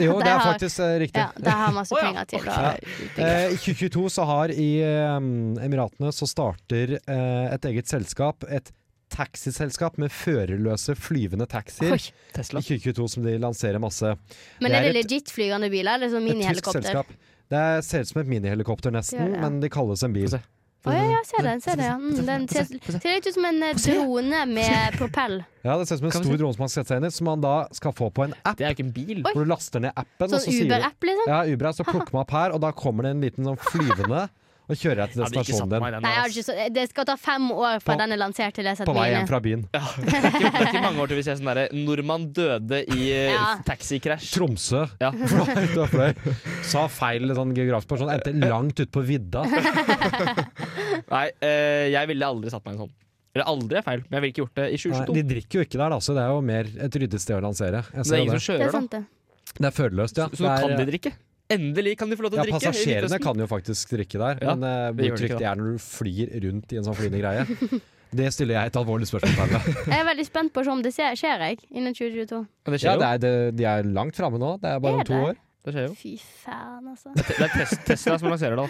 Speaker 4: Jo, det
Speaker 3: Der
Speaker 4: er
Speaker 3: har-
Speaker 4: faktisk eh, riktig.
Speaker 3: eh, Ja, de har masse
Speaker 2: Å ja,
Speaker 3: penger til å
Speaker 4: ok. Eh, I 2022 så har i eh, Emiratene så starter eh, et eget selskap, et taxiselskap med førerløse flyvende taxier.
Speaker 3: Oi.
Speaker 2: Tesla.
Speaker 4: I 2022 som de lanserer masse.
Speaker 3: Men
Speaker 4: Det
Speaker 3: er
Speaker 4: er
Speaker 3: det legit flygende biler, eller sånn
Speaker 4: Et tysk
Speaker 3: minihelikopter?
Speaker 4: selskap. Det er- ser ut som et minihelikopter nesten,
Speaker 3: Gjør det, ja.
Speaker 4: men de kalles en bil.
Speaker 2: Få se.
Speaker 3: Å ja, ja, se den. Se det, ja. mm, den ser, ser litt ut som en eh, drone med propell. Sånn
Speaker 4: Ja, det ser ut som en
Speaker 2: Kan vi
Speaker 4: stor
Speaker 2: se?
Speaker 4: drone som man skal sette seg inn i, som man da skal få på en app.
Speaker 2: Det er jo ikke en bil.
Speaker 3: Oi.
Speaker 4: Hvor du laster ned appen, og så
Speaker 3: Sånn
Speaker 4: sier du
Speaker 3: Uber-app, liksom.
Speaker 4: Ja, Uber, så plukker man opp her, og da kommer det en liten sånn flyvende og kjører deg til
Speaker 2: Hadde ikke satt
Speaker 4: destinasjonen din.
Speaker 2: meg i den.
Speaker 3: Nei, jeg
Speaker 2: der,
Speaker 3: har
Speaker 2: ass.
Speaker 3: ikke så, det skal ta fem år fra
Speaker 4: På-
Speaker 3: den er lansert til jeg
Speaker 4: På
Speaker 3: setter
Speaker 4: vei
Speaker 3: meg
Speaker 4: hjem
Speaker 3: inn. i.
Speaker 4: fra byen.
Speaker 2: Det er ikke, det er ikke mange år til vi ser sånn derre Nordmann døde i eh,
Speaker 3: Ja.
Speaker 2: taxikrasj.
Speaker 4: Tromsø.
Speaker 2: Ja.
Speaker 4: Da fløy. Sa feil sånn geografisk person. Endte langt ut på vidda.
Speaker 2: Nei, eh, jeg ville aldri satt meg i en sånn. Eller aldri er feil, men jeg ville ikke gjort det i
Speaker 4: Nei,
Speaker 2: 2022.
Speaker 4: de drikker jo ikke der, da, så det er jo mer et ryddig sted å lansere. Jeg
Speaker 2: Men
Speaker 4: ser
Speaker 2: det er
Speaker 4: jo
Speaker 2: ingen som
Speaker 4: det.
Speaker 3: Det er
Speaker 2: kjører, da.
Speaker 3: sant, det.
Speaker 4: det er førerløst, ja.
Speaker 2: Så nå
Speaker 4: Det er-
Speaker 2: kan de drikke. Endelig kan de få lov til å
Speaker 4: ja,
Speaker 2: drikke. i
Speaker 4: passasjerene
Speaker 2: Midtøsten.
Speaker 4: kan jo faktisk drikke der,
Speaker 2: Ja,
Speaker 4: men eh,
Speaker 2: det gjør
Speaker 4: hvor
Speaker 2: de ikke,
Speaker 4: trygt det er når du flyr rundt i en sånn flyende greie. Det stiller jeg et alvorlig spørsmål til.
Speaker 3: Jeg er veldig spent på å se om det skjer, skjer jeg innen 2022.
Speaker 2: Men det
Speaker 4: Ja,
Speaker 2: skjer jo.
Speaker 4: det er, det, de er langt framme nå. Det er bare
Speaker 3: Er
Speaker 4: om to
Speaker 3: det?
Speaker 4: år.
Speaker 2: Det skjer jo.
Speaker 3: Fy faen, altså.
Speaker 2: Det er Tes Tesla som lanserer det. da.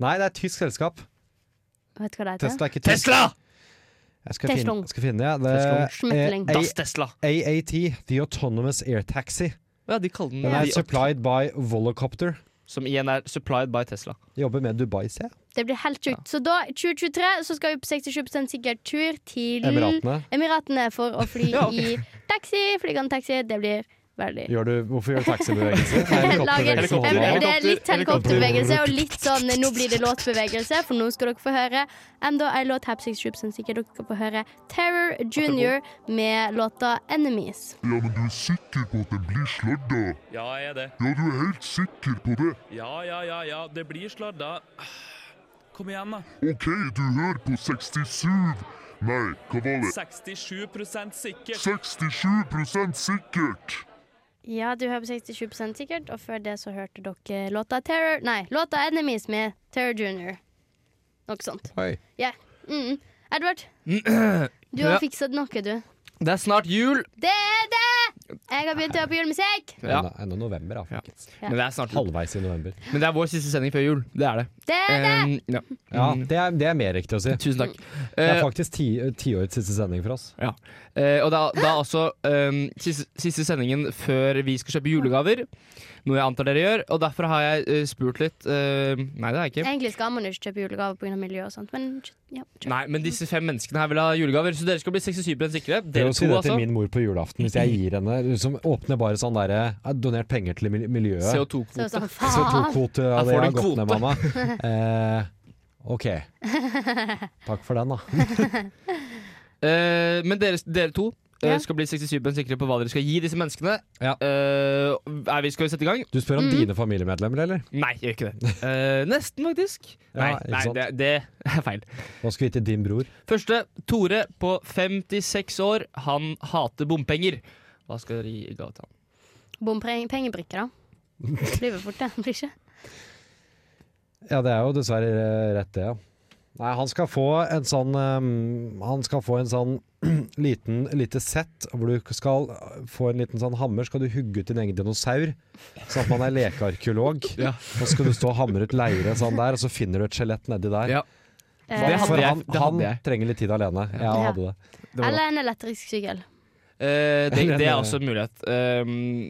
Speaker 4: Nei, det er et tysk selskap.
Speaker 3: Vet du hva det heter?
Speaker 4: Tesla er ikke tysk.
Speaker 2: Tesla!
Speaker 4: Jeg skal finne,
Speaker 3: Teslon.
Speaker 4: skal finne ja. det.
Speaker 2: Teslon.
Speaker 3: Schmetling.
Speaker 4: eh,
Speaker 2: Das Tesla.
Speaker 4: AAT, The Autonomous Air Taxi.
Speaker 2: Ja, de kaller den
Speaker 4: Den er
Speaker 2: de-
Speaker 4: supplied by Volocopter.
Speaker 2: Som igjen er supplied by Tesla.
Speaker 4: Jobber med Dubai, ser jeg.
Speaker 3: Det blir helt sjukt. Så da, 2023, så skal vi på 67 sikker tur
Speaker 2: Mm.
Speaker 3: til
Speaker 4: Emiratene.
Speaker 3: Emiratene for å fly
Speaker 2: Ja, ok.
Speaker 3: i taxi. Flygende taxi. Det blir veldig
Speaker 4: Gjør du, hvorfor gjør du taxibevegelse?
Speaker 3: Lager-
Speaker 2: Helikopter.
Speaker 4: Helikopterbevegelse.
Speaker 3: Em, Det er litt
Speaker 2: Helikopter.
Speaker 3: helikopterbevegelse og litt sånn nå blir det låtbevegelse, for nå skal dere få høre enda en låt Hap Six Troops, som sikkert dere skal få høre Terror Junior med låta Enemies.
Speaker 7: Ja, men du er sikker på at det blir sladda?
Speaker 6: Ja, jeg er det.
Speaker 7: Ja, du er helt sikker på det?
Speaker 6: Ja, ja, ja, ja. Det blir sladda. Kom igjen, da.
Speaker 7: Ok, du hører på 67 Nei, hva var det?
Speaker 6: 67 sikkert.
Speaker 7: 67 sikkert!
Speaker 3: Ja, du hører på 67 sikkert, og før det så hørte dere låta Terror Nei, låta Enemies med Terror Junior. Noe sånt.
Speaker 4: Oi.
Speaker 3: Ja. Mm. Edvard, du
Speaker 2: Ja.
Speaker 3: har fikset noe, du.
Speaker 2: Det er snart jul.
Speaker 3: Det er det! Jeg har begynt å høre på julemusikk.
Speaker 2: Ja.
Speaker 4: Enda- Enda november, da. folkens.
Speaker 2: Men det er snart jul.
Speaker 4: Halvveis i november.
Speaker 2: Men det er vår siste sending før jul. Det er det.
Speaker 3: Det er det!
Speaker 2: Um, ja.
Speaker 4: Ja, det er, det er mer riktig å si.
Speaker 2: Tusen takk.
Speaker 4: Det
Speaker 2: Eh,
Speaker 4: er faktisk ti- tiårets siste sending for oss.
Speaker 2: ja. Eh, og da, da også um, siste, siste sendingen før vi skal kjøpe julegaver. Noe jeg antar dere gjør. Og derfor har jeg eh, spurt litt eh, Nei, det har jeg ikke.
Speaker 3: Egentlig skal man jo ikke kjøpe julegave pga. miljø og sånt, men ja, kjøp.
Speaker 2: Nei, Men disse fem menneskene her vil ha julegaver, så dere skal bli 67 sikre.
Speaker 4: Prøv
Speaker 2: Dere
Speaker 4: å si
Speaker 2: to,
Speaker 4: det til
Speaker 2: altså.
Speaker 4: min mor på julaften, hvis jeg gir henne liksom, Åpner bare sånn derre jeg har Donert penger til mil- miljøet.
Speaker 3: Så er det
Speaker 2: CO2-kvote.
Speaker 3: sånn, faen!
Speaker 4: CO2-kvote. Ja,
Speaker 2: Her
Speaker 4: det
Speaker 2: får du
Speaker 4: har
Speaker 2: en
Speaker 4: gått ned,
Speaker 2: kvote.
Speaker 4: mamma. Eh, OK. Takk for den, da.
Speaker 2: Eh, men dere, dere to eh,
Speaker 3: Ja.
Speaker 2: skal bli 67 sikre på hva dere skal gi disse menneskene.
Speaker 4: Ja.
Speaker 2: Eh, er vi, skal vi sette i gang?
Speaker 4: Du spør om dine familiemedlemmer, eller?
Speaker 2: Nei, jeg gjør ikke det. Eh, nesten, faktisk.
Speaker 4: Ja,
Speaker 2: Nei,
Speaker 4: ikke
Speaker 2: nei
Speaker 4: sant.
Speaker 2: det, det er feil.
Speaker 4: Hva skal vi til din bror?
Speaker 2: Første, Tore på 56 år. Han hater bompenger. Hva skal dere gi i gave til han?
Speaker 3: Bompengebrikke, da. Flyver fort, det. Blir ikke.
Speaker 4: Ja, det er jo dessverre eh, rett, det. ja. Nei, han skal få en sånn ehm, Han skal få en sånn liten lite sett hvor du skal få en liten sånn hammer. Skal du hugge ut din egen dinosaur, sånn at man er lekearkeolog.
Speaker 2: Ja.
Speaker 4: Og så skal du stå og hamre ut leire sånn der, og så finner du et skjelett nedi der.
Speaker 2: Ja.
Speaker 3: Eh,
Speaker 2: hadde
Speaker 4: For
Speaker 2: jeg-
Speaker 4: han,
Speaker 2: det hadde
Speaker 4: han
Speaker 2: jeg.
Speaker 4: trenger litt tid alene. Jeg
Speaker 3: Ja.
Speaker 4: hadde det.
Speaker 3: eller en elektrisk sykkel.
Speaker 2: Eh, det, det er også en mulighet. Eh,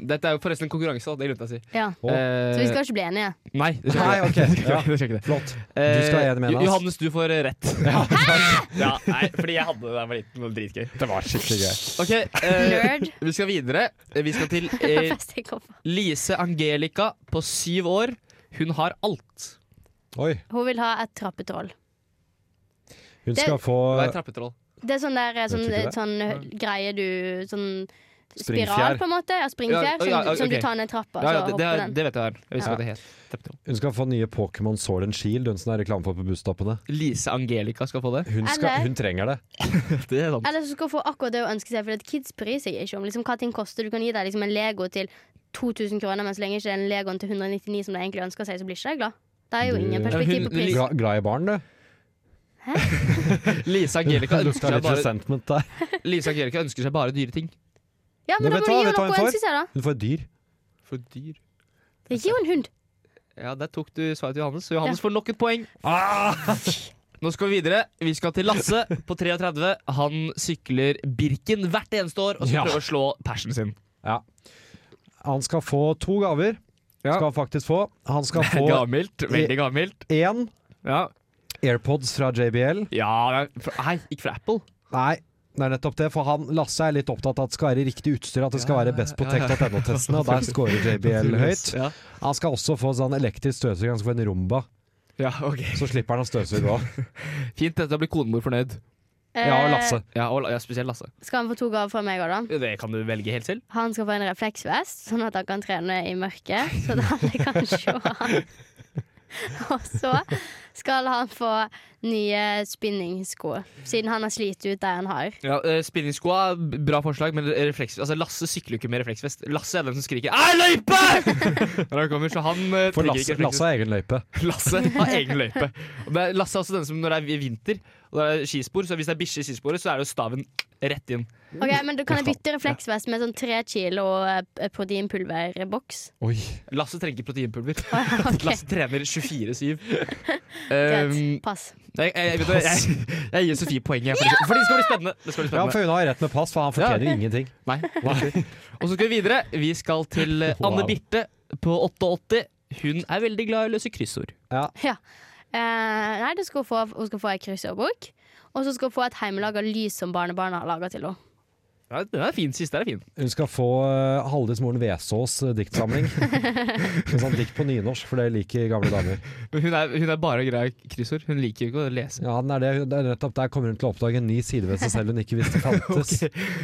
Speaker 2: dette er jo forresten en konkurranse, da, det glemte jeg å si.
Speaker 3: Ja.
Speaker 4: Å.
Speaker 2: Eh,
Speaker 3: Så vi skal ikke bli enige.
Speaker 2: Nei, det skal
Speaker 4: Nei,
Speaker 2: vi
Speaker 4: ok.
Speaker 2: ikke.
Speaker 4: Ja.
Speaker 2: Det skal vi ikke.
Speaker 4: Flott. Du skal ha en med
Speaker 2: Eh,
Speaker 4: oss.
Speaker 2: Johannes, du får eh, rett. Ja, nei, fordi jeg hadde det da jeg var liten. og Dritgøy.
Speaker 4: Det var skikkelig gøy.
Speaker 2: Ok, eh,
Speaker 3: Nerd.
Speaker 2: Vi skal videre. Eh, Vi skal til
Speaker 3: Det
Speaker 2: eh,
Speaker 3: beste jeg kom på.
Speaker 2: Lise Angelica på syv år. Hun har alt.
Speaker 4: Oi.
Speaker 3: Hun vil ha et trappetroll.
Speaker 4: Hun
Speaker 3: Det-
Speaker 4: skal få
Speaker 2: Hva er trappetroll?
Speaker 3: Det er sånn der eh, sånn,
Speaker 4: Vet du ikke det?
Speaker 3: sånn eh, greie du Sånn
Speaker 4: Springfjær.
Speaker 3: spiral, på en måte. Ja, springfjær.
Speaker 2: Ja, ja, ja,
Speaker 3: Som, som
Speaker 2: ok.
Speaker 3: du tar ned trappa,
Speaker 2: Ja, ja,
Speaker 3: så
Speaker 2: det, det,
Speaker 3: Altså, hopper
Speaker 2: er-
Speaker 3: den.
Speaker 2: det vet jeg. hva er. Jeg visste
Speaker 3: Ja.
Speaker 2: hva det het. Trappetroll.
Speaker 4: Hun skal få nye Pokémon Sword and Shield, hun som det er reklame for på busstoppene.
Speaker 2: Lise Angelica skal få det.
Speaker 4: Hun, skal,
Speaker 3: Eller-
Speaker 4: hun trenger det.
Speaker 2: Det er sant.
Speaker 3: Eller så skal hun få akkurat det hun ønsker seg, for kids bryr seg ikke om liksom, hva ting koster. Du kan gi deg liksom, en Lego til 2000 kroner, men så lenge ikke den Legoen til 199 som de egentlig ønsker seg, så blir ikke jeg glad. Det er jo ingen
Speaker 4: Du-
Speaker 3: perspektiv på
Speaker 2: Hun-
Speaker 3: pris.
Speaker 4: Gla, glad i barn, du.
Speaker 2: Lise Angelica
Speaker 4: Det
Speaker 2: ønsker
Speaker 4: lukta
Speaker 2: seg
Speaker 4: litt
Speaker 2: bare,
Speaker 4: resentment der.
Speaker 2: Lise Angelica ønsker seg bare dyre ting.
Speaker 3: Ja, men
Speaker 4: Men
Speaker 3: da
Speaker 4: vet du
Speaker 3: må
Speaker 4: hva- vet
Speaker 3: du gi
Speaker 4: du hva
Speaker 3: henne noe
Speaker 4: hun
Speaker 3: hun
Speaker 4: får?
Speaker 3: ønsker seg, da.
Speaker 4: Hun får et dyr.
Speaker 2: For dyr.
Speaker 3: Ikke jo en hund.
Speaker 2: Ja, Der tok du svaret til Johannes. Så Johannes får nok et poeng. Ah! Nå skal vi videre. Vi skal til Lasse på 33. Han sykler Birken hvert eneste år og skal
Speaker 4: Ja.
Speaker 2: prøve å slå persen sin.
Speaker 4: Han skal få to gaver.
Speaker 2: Ja.
Speaker 4: Skal han faktisk få. Han skal få
Speaker 2: Gammelt. Veldig gammelt.
Speaker 4: én
Speaker 2: Ja.
Speaker 4: AirPods fra JBL.
Speaker 2: Ja, fra, Nei, ikke fra Apple.
Speaker 4: Nei, det er nettopp det, for han, Lasse er litt opptatt av at det skal være riktig utstyr, at det skal
Speaker 2: Ja,
Speaker 4: være best på
Speaker 2: ja, ja.
Speaker 4: tech.no-testene, og der scorer JBL høyt.
Speaker 2: Ja.
Speaker 4: Han skal også få sånn elektrisk støvsuger, han skal få en Rumba.
Speaker 2: ja, ok
Speaker 4: Så slipper han å støvsuge òg.
Speaker 2: Fint. Dette blir konemor fornøyd.
Speaker 4: Ja, og Lasse.
Speaker 2: Ja, og, ja, Spesielt Lasse.
Speaker 3: Eh, Skal han få to gaver fra meg òg, da?
Speaker 2: Det kan du velge helt selv.
Speaker 3: Han skal få en refleksvest, sånn at han kan trene i mørket, så at alle kan se han. Og så skal han få nye spinningsko, siden han har slitt ut der han har.
Speaker 2: Ja, eh, Spinningsko er b- bra forslag, men refleks, altså Lasse sykler jo ikke med refleksvest. Lasse er den som skriker 'ei, løype!' når han kommer, så han eh,
Speaker 4: For
Speaker 2: trenger ikke
Speaker 4: Lasse,
Speaker 2: refleksvest.
Speaker 4: Lasse har egen løype.
Speaker 2: Lasse har egen løype. Og det er, Lasse er også den som når det er vi- vinter og det er skispor, så hvis det er bikkje i skisporet, så er det jo staven rett inn.
Speaker 3: Ok, men da Kan jeg bytte refleksvest med sånn tre kilo eh, proteinpulverboks?
Speaker 4: Oi.
Speaker 2: Lasse trenger ikke proteinpulver.
Speaker 3: Ok,
Speaker 2: Lasse trener 24-7.
Speaker 3: greit.
Speaker 2: Um,
Speaker 3: Pass.
Speaker 2: jeg, jeg, vet du hva, jeg, jeg gir Sofie poenget, for, det- for det skal bli spennende. Det skal bli
Speaker 4: Ja,
Speaker 2: spennende.
Speaker 4: for hun har rett med pass, for han fortjener ingenting.
Speaker 2: Nei. Og så skal vi videre. Vi skal til eh,
Speaker 4: Wow.
Speaker 2: Anne Birte på 88. Hun er veldig glad i å løse kryssord.
Speaker 3: Eh, nei, det skal hun, få, hun skal få ei kryssordbok. Og så skal hun få et hjemmelaga lys som barnebarna har laga til henne.
Speaker 2: Ja, den er fin. Siste er fin.
Speaker 4: Hun skal få uh, Haldis Moren Vesaas eh, diktsamling. En sånn dikt på nynorsk, for det liker gamle damer.
Speaker 2: Men hun er, hun er bare glad i kryssord. Hun liker jo ikke å lese.
Speaker 4: Ja, den er det. det er nettopp Der kommer hun til å oppdage en ny side ved seg selv hun ikke visste fantes.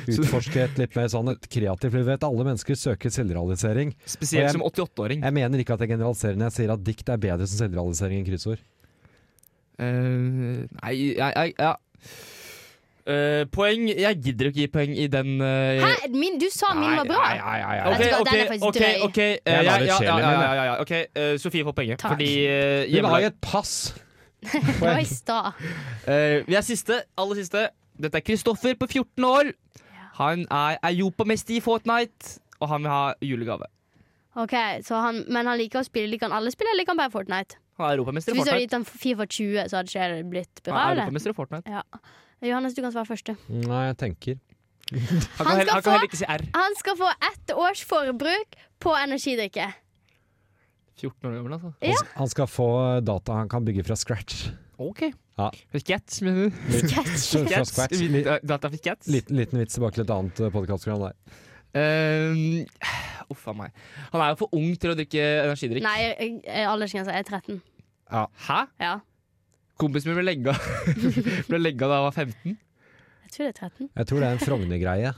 Speaker 4: Utforske et litt mer sånn et kreativt liv. Du vet, Alle mennesker søker selvrealisering. Og
Speaker 2: Spesielt
Speaker 4: jeg-
Speaker 2: som 88-åring.
Speaker 4: Jeg mener ikke at jeg generaliserer når jeg sier at dikt er bedre som selvrealisering enn kryssord.
Speaker 2: Eh, nei, jeg, jeg ja. Eh, poeng Jeg gidder ikke gi poeng i den eh,
Speaker 3: Hæ, min, du sa min var bra!
Speaker 2: Nei, nei, nei, nei.
Speaker 3: Vet du hva,
Speaker 2: OK,
Speaker 3: den er
Speaker 2: OK,
Speaker 3: faktisk
Speaker 2: OK.
Speaker 3: drøy.
Speaker 2: ok, eh,
Speaker 4: Jeg
Speaker 2: ja,
Speaker 4: lar det
Speaker 2: ja,
Speaker 4: skje,
Speaker 2: ja, ja,
Speaker 4: Linn,
Speaker 2: ja, ja, OK, eh, Sofie får poenget.
Speaker 3: Takk.
Speaker 2: Fordi eh,
Speaker 4: Hun har
Speaker 2: hjemmelag-
Speaker 4: jo et pass!
Speaker 3: Det var i stad.
Speaker 2: Eh, vi er siste, aller siste. Dette er Kristoffer på 14 år. Han er europamester i Fortnite, og han vil ha julegave.
Speaker 3: Ok, så han, Men han liker å spille. Liker han alle spill, eller liker han bare Fortnite?
Speaker 2: Han er europamester
Speaker 3: Så
Speaker 2: i
Speaker 3: Hvis du hadde
Speaker 2: Fortnite.
Speaker 3: gitt han Fifa 20, så hadde ikke det blitt bra?
Speaker 2: Han er
Speaker 3: eller?
Speaker 2: europamester i Fortnite.
Speaker 3: Ja. Johannes, du kan svare først. du.
Speaker 4: Nei, jeg tenker
Speaker 2: Han
Speaker 3: Han
Speaker 2: kan, heller,
Speaker 3: skal
Speaker 2: han kan
Speaker 3: få-
Speaker 2: heller ikke si R.
Speaker 3: Han skal få ett års forbruk på energidrikke.
Speaker 2: 14 år gammel, altså.
Speaker 3: Ja.
Speaker 4: Han skal få eh, data han kan bygge fra scratch.
Speaker 2: OK.
Speaker 4: Ja.
Speaker 2: Skets, mener du?
Speaker 3: Sketsj.
Speaker 4: Fra scratch. Li-
Speaker 2: Data for skets?
Speaker 4: Liten, liten vits tilbake til et annet podkastprogram der.
Speaker 2: Eh, Uff a meg. Han er jo for ung til å drikke energidrikk.
Speaker 3: Nei, jeg- jeg- aldersgrensa er 13.
Speaker 2: Hæ?
Speaker 3: Ja,
Speaker 2: Kompisen min ble legga Ble legga da han var 15.
Speaker 3: jeg tror det er 13.
Speaker 4: Jeg tror det er en Frogner-greie.